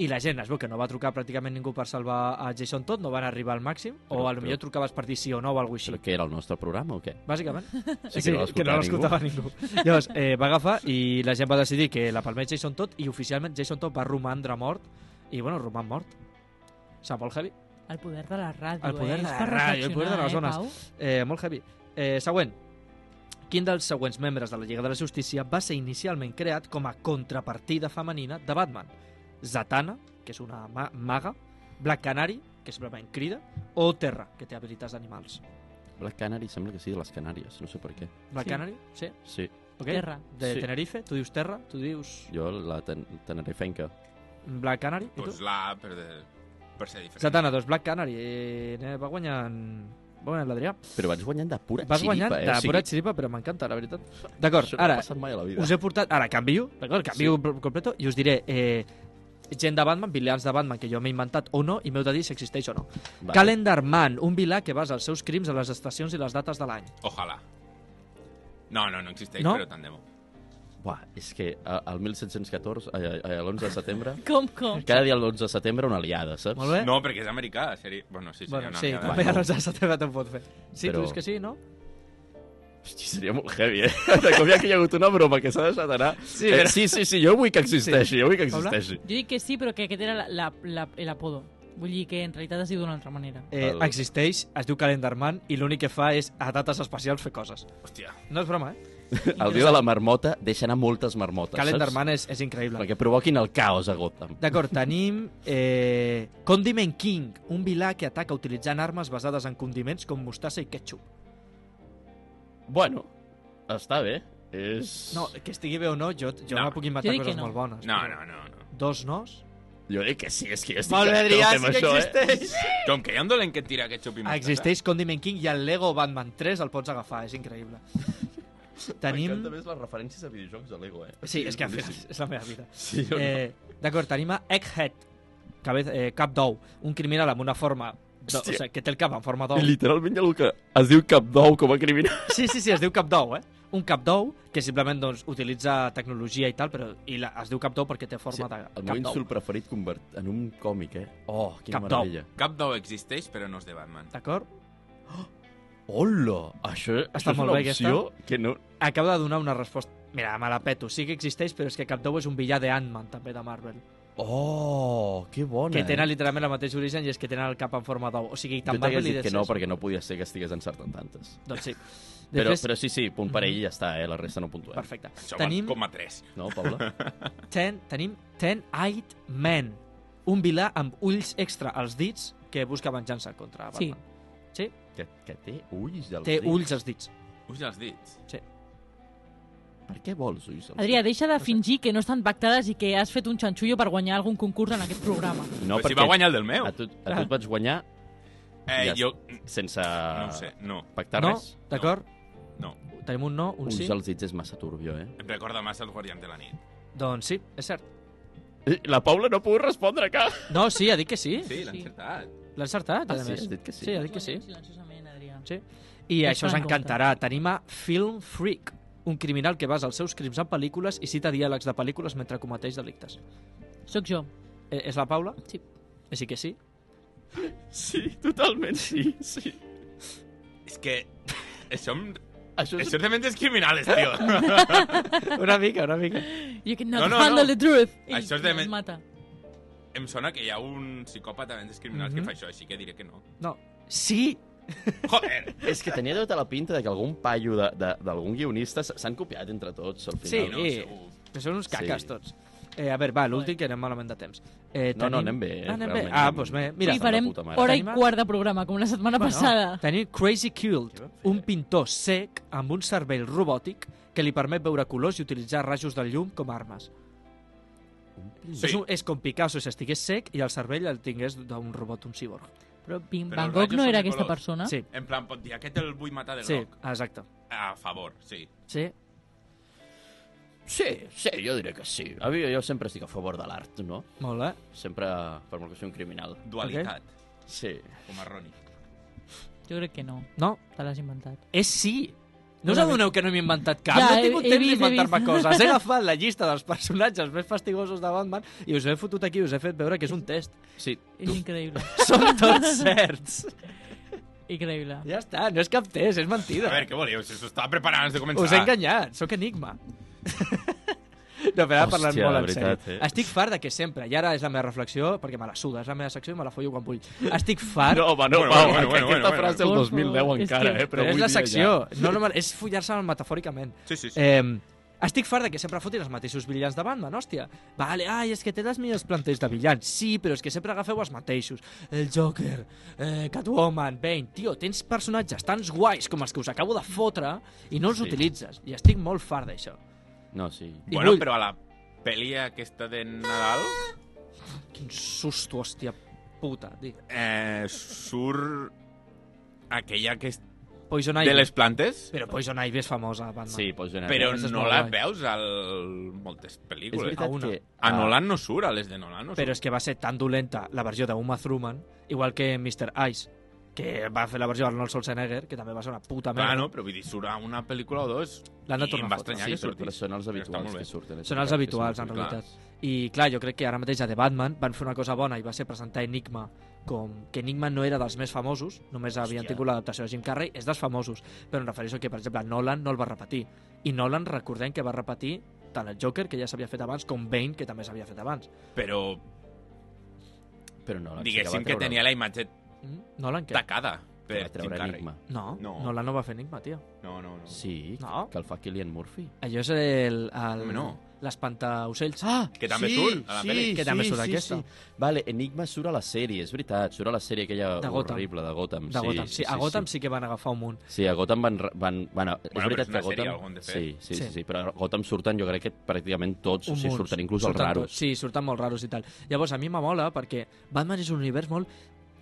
I la gent es veu que no va trucar pràcticament ningú per salvar a Jason Todd, no van arribar al màxim,
Però-
o a lo millor
però-
trucaves per dir sí o no o alguna cosa així.
Però que era el nostre programa o què?
Bàsicament.
Sí, que no l'escoltava
l'escoltava ningú. Llavors, eh, va agafar i la gent va decidir que la palmés Jason Todd i oficialment Jason Todd va romandre mort i, bueno, roman mort. Sap, molt heavy.
El poder de la ràdio,
El poder
eh? És
de la
per
ràdio, el poder de les
reflexionar,
Eh, molt heavy. Eh, següent. Quin dels següents membres de la Lliga de la Justícia va ser inicialment creat com a contrapartida femenina de Batman? Zatanna, que és una ma maga, Black Canary, que simplement crida, o Terra, que té habilitats d'animals.
Black Canary sembla que sigui de les Canàries, no sé per què.
Black
Sí.
Canary, sí,
Sí,
ok?
Pau? Terra.
De
Sí.
Tenerife, tu dius Terra, tu dius
jo la ten tenerifenca.
Black Canary, i tu?
Doncs Pues la... Per, de... per ser diferent.
Satana, doncs Black Canary eh, ne- va guanyant va guanyant l'Adrià.
Però vaig guanyant de pura
Vas guanyant
xiripa, eh?
de
O sigui,
pura xiripa, però m'encanta, la veritat. D'acord,
Això no
ara,
ha passat mai a la vida.
us he portat... Ara, canvio, d'acord? Canvio sí. completo i us diré... Eh, gent de Batman, vilains de Batman que jo m'he inventat o no i m'heu de dir si existeix o no.
Vale.
Calendar Man, un vilà que basa els seus crims a les estacions i les dates de l'any.
Ojalà. No, no, no existeix,
No?
però tant de bo.
Buah, és que eh, el 1714, eh, eh, l'11 de setembre,
Com, com?
cada dia l'11 de setembre una aliada, saps?
Molt bé?
No, perquè és americà, seria... Bueno, sí, seria
Bueno,
una
sí,
mica de-
també
Bueno.
ara els has atrevit un pot fer. Sí,
Però-
tu dius que sí, no?
Hosti, seria molt heavy, eh? De cop hi ha, que hi ha hagut una broma que s'ha deixat anar. Sí, eh,
però-
sí, sí, sí, jo vull que existeixi,
Sí.
jo vull que
Paula?
existeixi.
Jo dic que sí, però que aquest era la- la- la- l'apodo. Vull dir que en realitat es diu d'una altra manera.
Eh,
El-
existeix, es diu Calendar Man i l'únic que fa és a dates especials fer coses.
Hòstia.
No és broma, eh?
El dia de la marmota deixa anar moltes marmotes, saps?
Calendarman és, és increïble.
Perquè provoquin el caos a Gotham.
D'acord, tenim eh, Condiment King, un vilà que ataca utilitzant armes basades en condiments com mostassa i ketchup.
Bueno, està bé. És...
No, que estigui bé o no, jo, jo
No.
no, puc inventar
Jo dic que
coses
no.
molt bones.
No,
però
no, no. no.
Dos nos?
Jo dic que sí, és que jo estic...
Molt bé, Adrià,
estic
sí que
amb això, eh?
existeix!
Com que hi ha un dolent que et tira aquest xupi
Ah, Existeix Condiment King i el Lego Batman 3 el pots agafar, és increïble. tenim...
més les referències a videojocs de Lego, eh?
Sí, és que és, és la meva vida.
Sí o no?
Eh, D'acord, tenim a Egghead, cabeza, eh, cap d'ou, un criminal amb una forma... d'ou, o
Hòstia.
sigui, que té el cap en forma d'ou.
I literalment hi ha el que es diu cap d'ou com a criminal.
Sí, sí, sí, es diu cap d'ou, eh? Un cap d'ou que simplement doncs, utilitza tecnologia i tal, però i la, es diu cap d'ou perquè té forma de
el meu
cap d'ou.
insult preferit convert en un còmic, eh? Oh, quina
Cap d'ou.
meravella.
Cap d'ou existeix, però no és de Batman.
D'acord?
Hola! Això, això és
molt
una
bé, aquesta.
opció que no...
Acaba de donar una resposta. Mira, me la peto. Sí que existeix, però és que cap d'ou és un villà de Ant-Man, també, de Marvel.
Oh, que bona,
que tenen
eh?
literalment el mateix origen i és que tenen el cap en forma d'ou. O sigui,
Jo
tan
t'hagués
Marvel i
dit que
DC.
no, perquè no podia ser que estigués encertant tantes.
Doncs sí.
Però,
Després,
però sí, sí, punt per
Mhm.
ell i ja està, eh? La resta no puntuem.
Perfecte.
Això
Tenim-
val com a 3.
No, Paula?
Ten, tenim Ten-Eyed Man, un vilà amb ulls extra als dits que busca venjança contra
Sí.
Batman.
que, que té ulls dels
Té
dits.
ulls als dits.
Ulls als dits.
Per què vols ulls als
Adrià, deixa de fingir que no estan pactades i que has fet un xanxullo per guanyar algun concurs en aquest programa.
dits?
No, però Pues si va guanyar el del meu.
A tu, a tu et vaig guanyar
Eh,
ja
jo...
sense
No ho sé, no.
pactar
no?
res.
D'acord?
No.
Tenim un no, un
ulls
sí.
als dits és massa turbio, eh?
Em recorda massa els Guardians de la nit.
Doncs sí, és cert.
Eh, La Paula no ha pogut respondre cap.
No, sí, ha dit que sí.
Sí, l'han
Sí.
encertat.
L'ha encertat,
Ah,
a
sí,
més.
has dit que sí.
Sí, ha dit que sí.
Silenciosament, Adrià.
I
Ells
això us
fan
encantarà. Tenim a Film Freak, un criminal que basa els seus crims en pel·lícules i cita diàlegs de pel·lícules mentre cometeix delictes.
Soc jo.
Eh, és la Paula?
Sí.
Eh, Sí que sí.
Sí, totalment sí, sí.
És que... Això, em...
Això és...
això és de mentes criminales, tio.
Una mica, una mica.
You cannot
No, no,
handle
no.
the truth. I
Això és de
ens
men-
mata.
em sona que hi ha un psicòpata de mentes criminals
Mhm.
que fa això, així que diré que no.
No. Sí!
Joder!
és que tenia tota la pinta de que algun paio de- de- d'algun guionista s- s'han copiat entre tots al
Sí,
final.
no,
eh.
segur.
Que són uns caques,
Sí.
tots. Eh, a veure, va, l'últim, que anem malament de temps. Eh,
No, no, anem bé,
Ah, anem bé.
realment
Ah,
anem-
doncs bé. Mira,
Estan
Avui
de
farem
puta mare.
hora i
Tenim a-
quart de programa, com la setmana passada.
Tenim Crazy Quilt,
Què va fer?
un pintor sec amb un cervell robòtic que li permet veure colors i utilitzar rajos de llum com a armes.
Sí.
És, un, és com Picasso, si estigués sec i el cervell el tingués d'un robot, un cyborg.
Però Pim,
Però
Van
els
Gogh
rajos
no
són
era
de
aquesta
colors.
persona?
Sí,
En plan, pot dir, aquest el vull matar de
sí,
groc.
exacte.
A favor, sí.
Sí.
Sí, sí, jo diré que sí. A mi jo sempre estic a favor de l'art, no?
Molt bé.
Sempre, per molt que sigui un criminal.
Dualitat,
Sí.
com a Ronnie.
Jo crec que no.
No,
Te l'has inventat.
és sí. No us
Una
adoneu que no m'he inventat cap?
Ja,
no he
he-
tingut
he
temps
vist, he
d'inventar-me
vist.
coses. He agafat la llista dels personatges més fastigosos de Batman i us he fotut aquí, us he fet veure que és un test.
Sí,
És increïble.
Són tots certs.
Increïble.
Ja està, no és cap test, és mentida.
A veure, què voleu? Si s'ho estava preparant abans de començar.
Us he enganyat, sóc enigma. No, però ara parlant
Hòstia,
molt
de
en
veritat,
sèrio.
eh?
Estic fart de que sempre, i ara és la meva reflexió, perquè me la suda, és la meva secció i me la follo quan vull. Estic fart,
No, home, no,
Bueno,
Pau,
bueno,
que
bueno,
aquesta
bueno,
frase
bueno.
del 2010
És
encara,
que-
eh?
però, és
avui
la
dia
secció. No, no, és follar-se metafòricament.
Sí, sí, sí.
Eh, estic fart de que sempre fotin els mateixos villans de Batman, hòstia. Vale, ai, és que té les millors plantells de villans. Sí, però és que sempre agafeu els mateixos. El Joker, eh, Catwoman, Bane... Tio, tens personatges tan guais com els que us acabo de fotre i no els
Sí.
utilitzes. I estic molt fart d'això.
Ja... No, sí.
I
Bueno,
vull-
però a la pel·li aquesta de Nadal
Quin susto, hòstia puta. Di.
eh, surt aquella que és
Poison Ivy.
de les plantes,
Però Poison Ivy és famosa, a Batman.
Sí, pots generar...
però
Aquesta és
no
molt
la
guai.
veus a moltes
és
pel·lícules.
veritat
una.
que... Ah,
A Nolan no surt, a les de Nolan no surt.
Però és que va ser tan dolenta la versió d'Uma Thurman, igual que Mr. Ice, que va fer la versió d'Arnold Schwarzenegger, que també va ser una puta merda.
Clar, no, però vull dir, surt a una pel·lícula o dos
L'han de
i
tornar
em
a
va
fotre.
Sí,
estranyar
però,
que surti.
però són els
Però està
habituals
molt
que
bé.
surten. és
Són
veritat
els
que
habituals, en
són
clar.
realitat. I clar, jo crec que ara mateix a The Batman van fer una cosa bona i va ser presentar Enigma com que Enigma no era dels més famosos, només havien
Hòstia.
tingut l'adaptació de Jim Carrey, és dels famosos, però em refereixo que, per exemple, Nolan no el va repetir. I Nolan, recordem que va repetir tant el Joker, que ja s'havia fet abans, com Bane, que també s'havia fet abans.
Però
Però no,
diguéssim que tenia la imatge
Mm? Nolan, què?
tacada.
Que
per
va treure
Jim Carrey.
Enigma.
No,
No.
no. Nolan no va fer Enigma, tio.
No, no, no.
Sí,
No.
que el fa Killian Murphy.
Allò és el... el
Home, no.
L'espantaocells.
Ah,
Que també surt a la pel·li.
Que també surt aquesta.
Vale, Enigma surt a la sèrie, és veritat. Surt a la sèrie aquella
De Gotham.
horrible de Gotham.
de Gotham. Sí, a Gotham sí. que van agafar un munt.
Sí, a Gotham van... van, van bueno, és
però
veritat
és una
que a Gotham...
sèrie, algú han de fer.
sí, sí, sí,
Sí.
sí, però a Gotham surten, jo crec que pràcticament tots, o
un
sigui,
munt.
surten inclús els
Surten
raros.
tots. Sí, surten molt raros i tal. Llavors, a mi me mola perquè Batman és un univers molt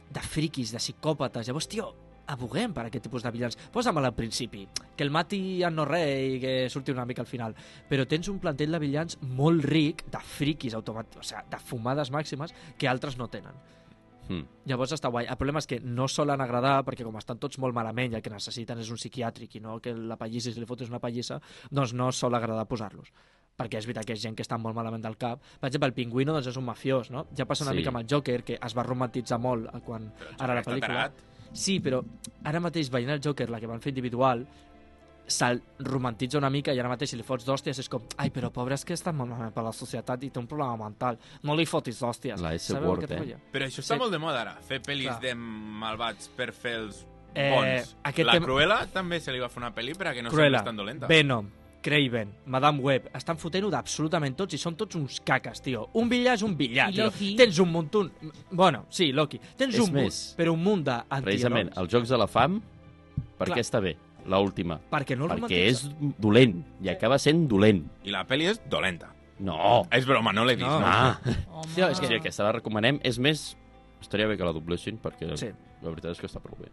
de friquis, de psicòpates. Llavors, tio, aboguem per aquest tipus de villans. Posa'm al principi, que el mati en no res i que surti una mica al final. Però tens un plantell de villans molt ric, de friquis automàtics, o sigui, de fumades màximes, que altres no tenen.
Mm.
Llavors està guai. El problema és que no solen agradar perquè com estan tots molt malament i el que necessiten és un psiquiàtric i no que la pallissa, si li fotis una pallissa, doncs no sol agradar posar-los. Perquè és veritat que és gent que està molt malament del cap. Per exemple, el pingüino doncs, és un mafiós, no? Ja passa una
Sí.
mica amb el Joker, que es va romantitzar molt eh, quan... Ara la
Està
pel·lícula...
tarat.
Sí, però ara mateix veient el Joker, la que van fer individual, se'l romantitza una mica i ara mateix si li fots d'hòsties és com ai, però pobre, és que està molt malament per la societat i té un problema mental. No li fotis d'hòsties.
La S
Sabeu el
word,
que et
eh?
vull dir?
Però això està
Sí.
molt de moda ara, fer pel·lis
Clar.
de malvats per fer els
Eh,
bons.
aquest
la
tema-
Cruella també se li va fer una pel·li perquè no
Cruella,
Cruella. tan dolenta.
Venom, Craven, Madame Web, estan fotent-ho d'absolutament tots i són tots uns caques, tio. Un villà és un villà,
I
tio.
Loki.
Tens un munt... Bueno, sí, Loki. Tens
És
un munt,
més,
però un munt
Precisament,
d'antiherois.
els Jocs de la Fam, per
Clar.
què està bé? La última.
Perquè no el
Perquè és
romantitza.
dolent, i acaba sent dolent.
I la pel·li és dolenta.
No!
És broma, no l'he vist.
No.
No.
Oh. Ah!
Home.
Tio, és
Sí, aquesta la recomanem. És més, estaria bé que la doblessin, perquè
Sí.
sí. la veritat és que està prou bé.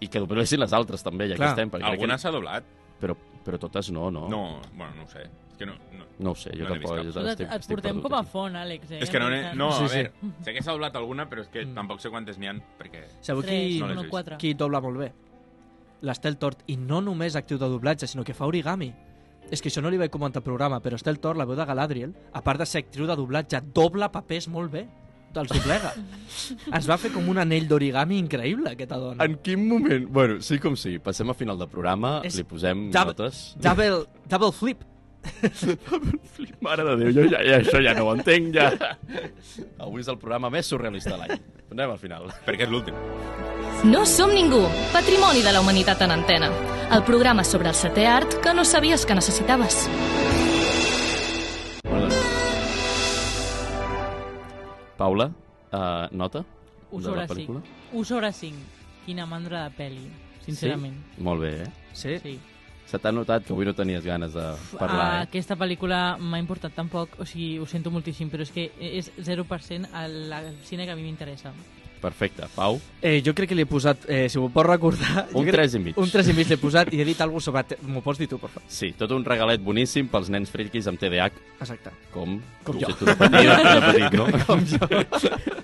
I que doblessin les altres també, ja
Clar.
que estem. Perquè crec
Alguna s'ha doblat?
que... però, però totes no, no.
No, bueno, no ho sé. És que no... no.
No ho sé, jo
No n'he
tampoc.
vist
ara
Nosaltres et portem
perdut
com a
aquí.
font, Àlex, eh?
és que no, n'he- no a
Sí, Mm.
sí,
sí.
veure, sé que s'ha doblat alguna, però és que tampoc sé quantes n'hi ha, perquè...
Sabeu
3,
qui,
No l'he
1,
vist.
4.
qui dobla molt bé? L'Estel Tort. I no només actiu de doblatge, sinó que fa origami. És que això no li vaig comentar al programa, però Estel Tort, la veu de Galadriel, a part de ser actriu de doblatge, dobla papers molt bé. Els doblega. Ens va fer com un anell d'origami increïble, aquesta dona.
En quin moment? Bueno, sí com sí. Passem a final del programa,
És-
és... li posem
Ja-
notes.
Double, double flip.
Mare de Déu, jo ja, ja, això ja no ho entenc, ja. Avui és el programa més surrealista de l'any. Anem al final.
Perquè és l'últim.
No som ningú, patrimoni de la humanitat en antena. El programa sobre el setè art que no sabies que necessitaves.
Paula, uh, nota
1
de
sobre
la pel·lícula?
5. 1 sobre 5. Quina mandra de peli, sincerament.
Sí? Molt bé, eh?
Sí?
Sí.
Se t'ha notat que avui no tenies ganes de
Ah,
parlar, eh?
Aquesta pel·lícula m'ha importat tan poc, o sigui, ho sento moltíssim, però és que e-, és 0% el el cine que a mi m'interessa.
Perfecte. Pau,
Eh, jo crec que li he posat, eh, si m'ho pots recordar... jo
un
crec-
3 i mig.
Un 3 i mig l'he posat i he dit alguna cosa sobre... te- M'ho pots dir tu, per favor?
Sí, tot un regalet boníssim pels nens friquis amb TDAH,
Exacte.
com...
Com
tu,
jo.
si Tu de petit, tu de petit no? Com jo.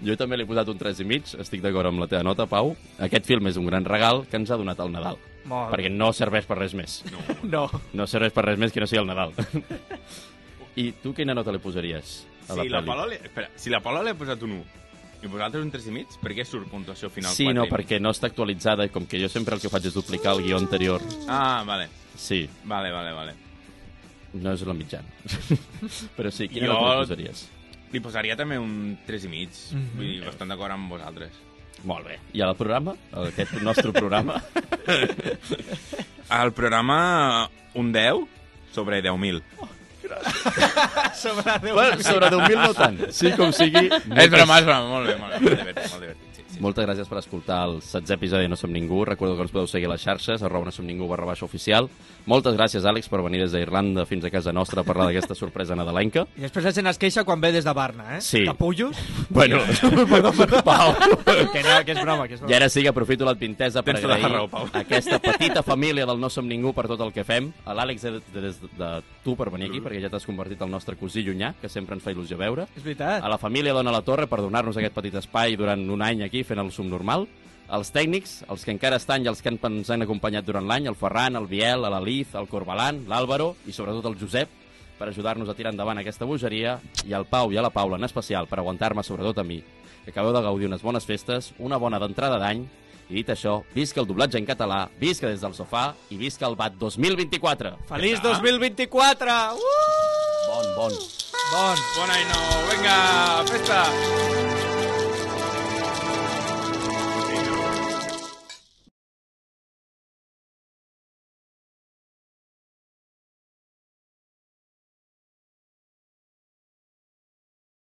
Jo també li he posat un 3 i mig, estic d'acord amb la teva nota, Pau. Aquest film és un gran regal que ens ha donat el Nadal,
Molt.
perquè no serveix per res més.
No.
No.
No serveix per res més que no sigui el Nadal. I tu quina nota li posaries a la
Si la
pel·li?
Paula... li- Espera, si la Paula li ha posat un 1 i vosaltres un 3 i mig, per què surt puntuació final
Sí,
4
no,
i mig?
perquè no està actualitzada i com que jo sempre el que faig és duplicar el guió anterior.
Ah, vale,
Sí,
vale, vale, vale.
no és la mitjana. Però sí, quina
Jo-
nota li posaries?
Li posaria també un 3 i mig.
Mhm.
Vull dir, bastant d'acord amb vosaltres.
Molt bé. I al programa, a aquest nostre programa,
Al programa, un 10 sobre 10.000.
Sobre Déu.
bueno, sobre 10.000 no tant. Sí com sigui...
És
Moltes,
broma, és broma. Molt bé, molt bé. Molt divertit, molt divertit. Sí, sí.
Eh, moltes gràcies per escoltar el setze episodi de No som ningú. Recordo que ens podeu seguir a les xarxes, arroba no som ningú barra baixa oficial. Moltes gràcies, Àlex, per venir des d'Irlanda fins a casa nostra a parlar d'aquesta sorpresa nadalenca.
I després la gent es queixa quan ve des de Barna, eh?
Sí.
Capullos.
Bueno, perdó, perdó, Pau.
que no, que és broma, que és
I
broma.
ara sí que aprofito l'advintesa per
Tens tota la
agrair
raó, Pau.
aquesta petita família del No Som Ningú per tot el que fem. A l'Àlex de, de, de, de tu per venir aquí, perquè ja t'has convertit el nostre cosí llunyà, que sempre ens fa il·lusió veure.
És veritat.
A la família Dona la Torre per donar-nos aquest petit espai durant un any aquí fent el subnormal. Els tècnics, els que encara estan i els que han- ens han acompanyat durant l'any, el Ferran, el Biel, l'Aliz, el Corbalan, l'Àlvaro i sobretot el Josep, per ajudar-nos a tirar endavant aquesta bogeria, i al Pau i a la Paula en especial per aguantar-me sobretot a mi. Que acabeu de gaudir unes bones festes, una bona d'entrada d'any, i dit això, visca el doblatge en català, visca des del sofà i visca el BAT 2024.
Feliç 2024! Uh!
Bon, bon.
Bon.
Bon any nou. Vinga, festa!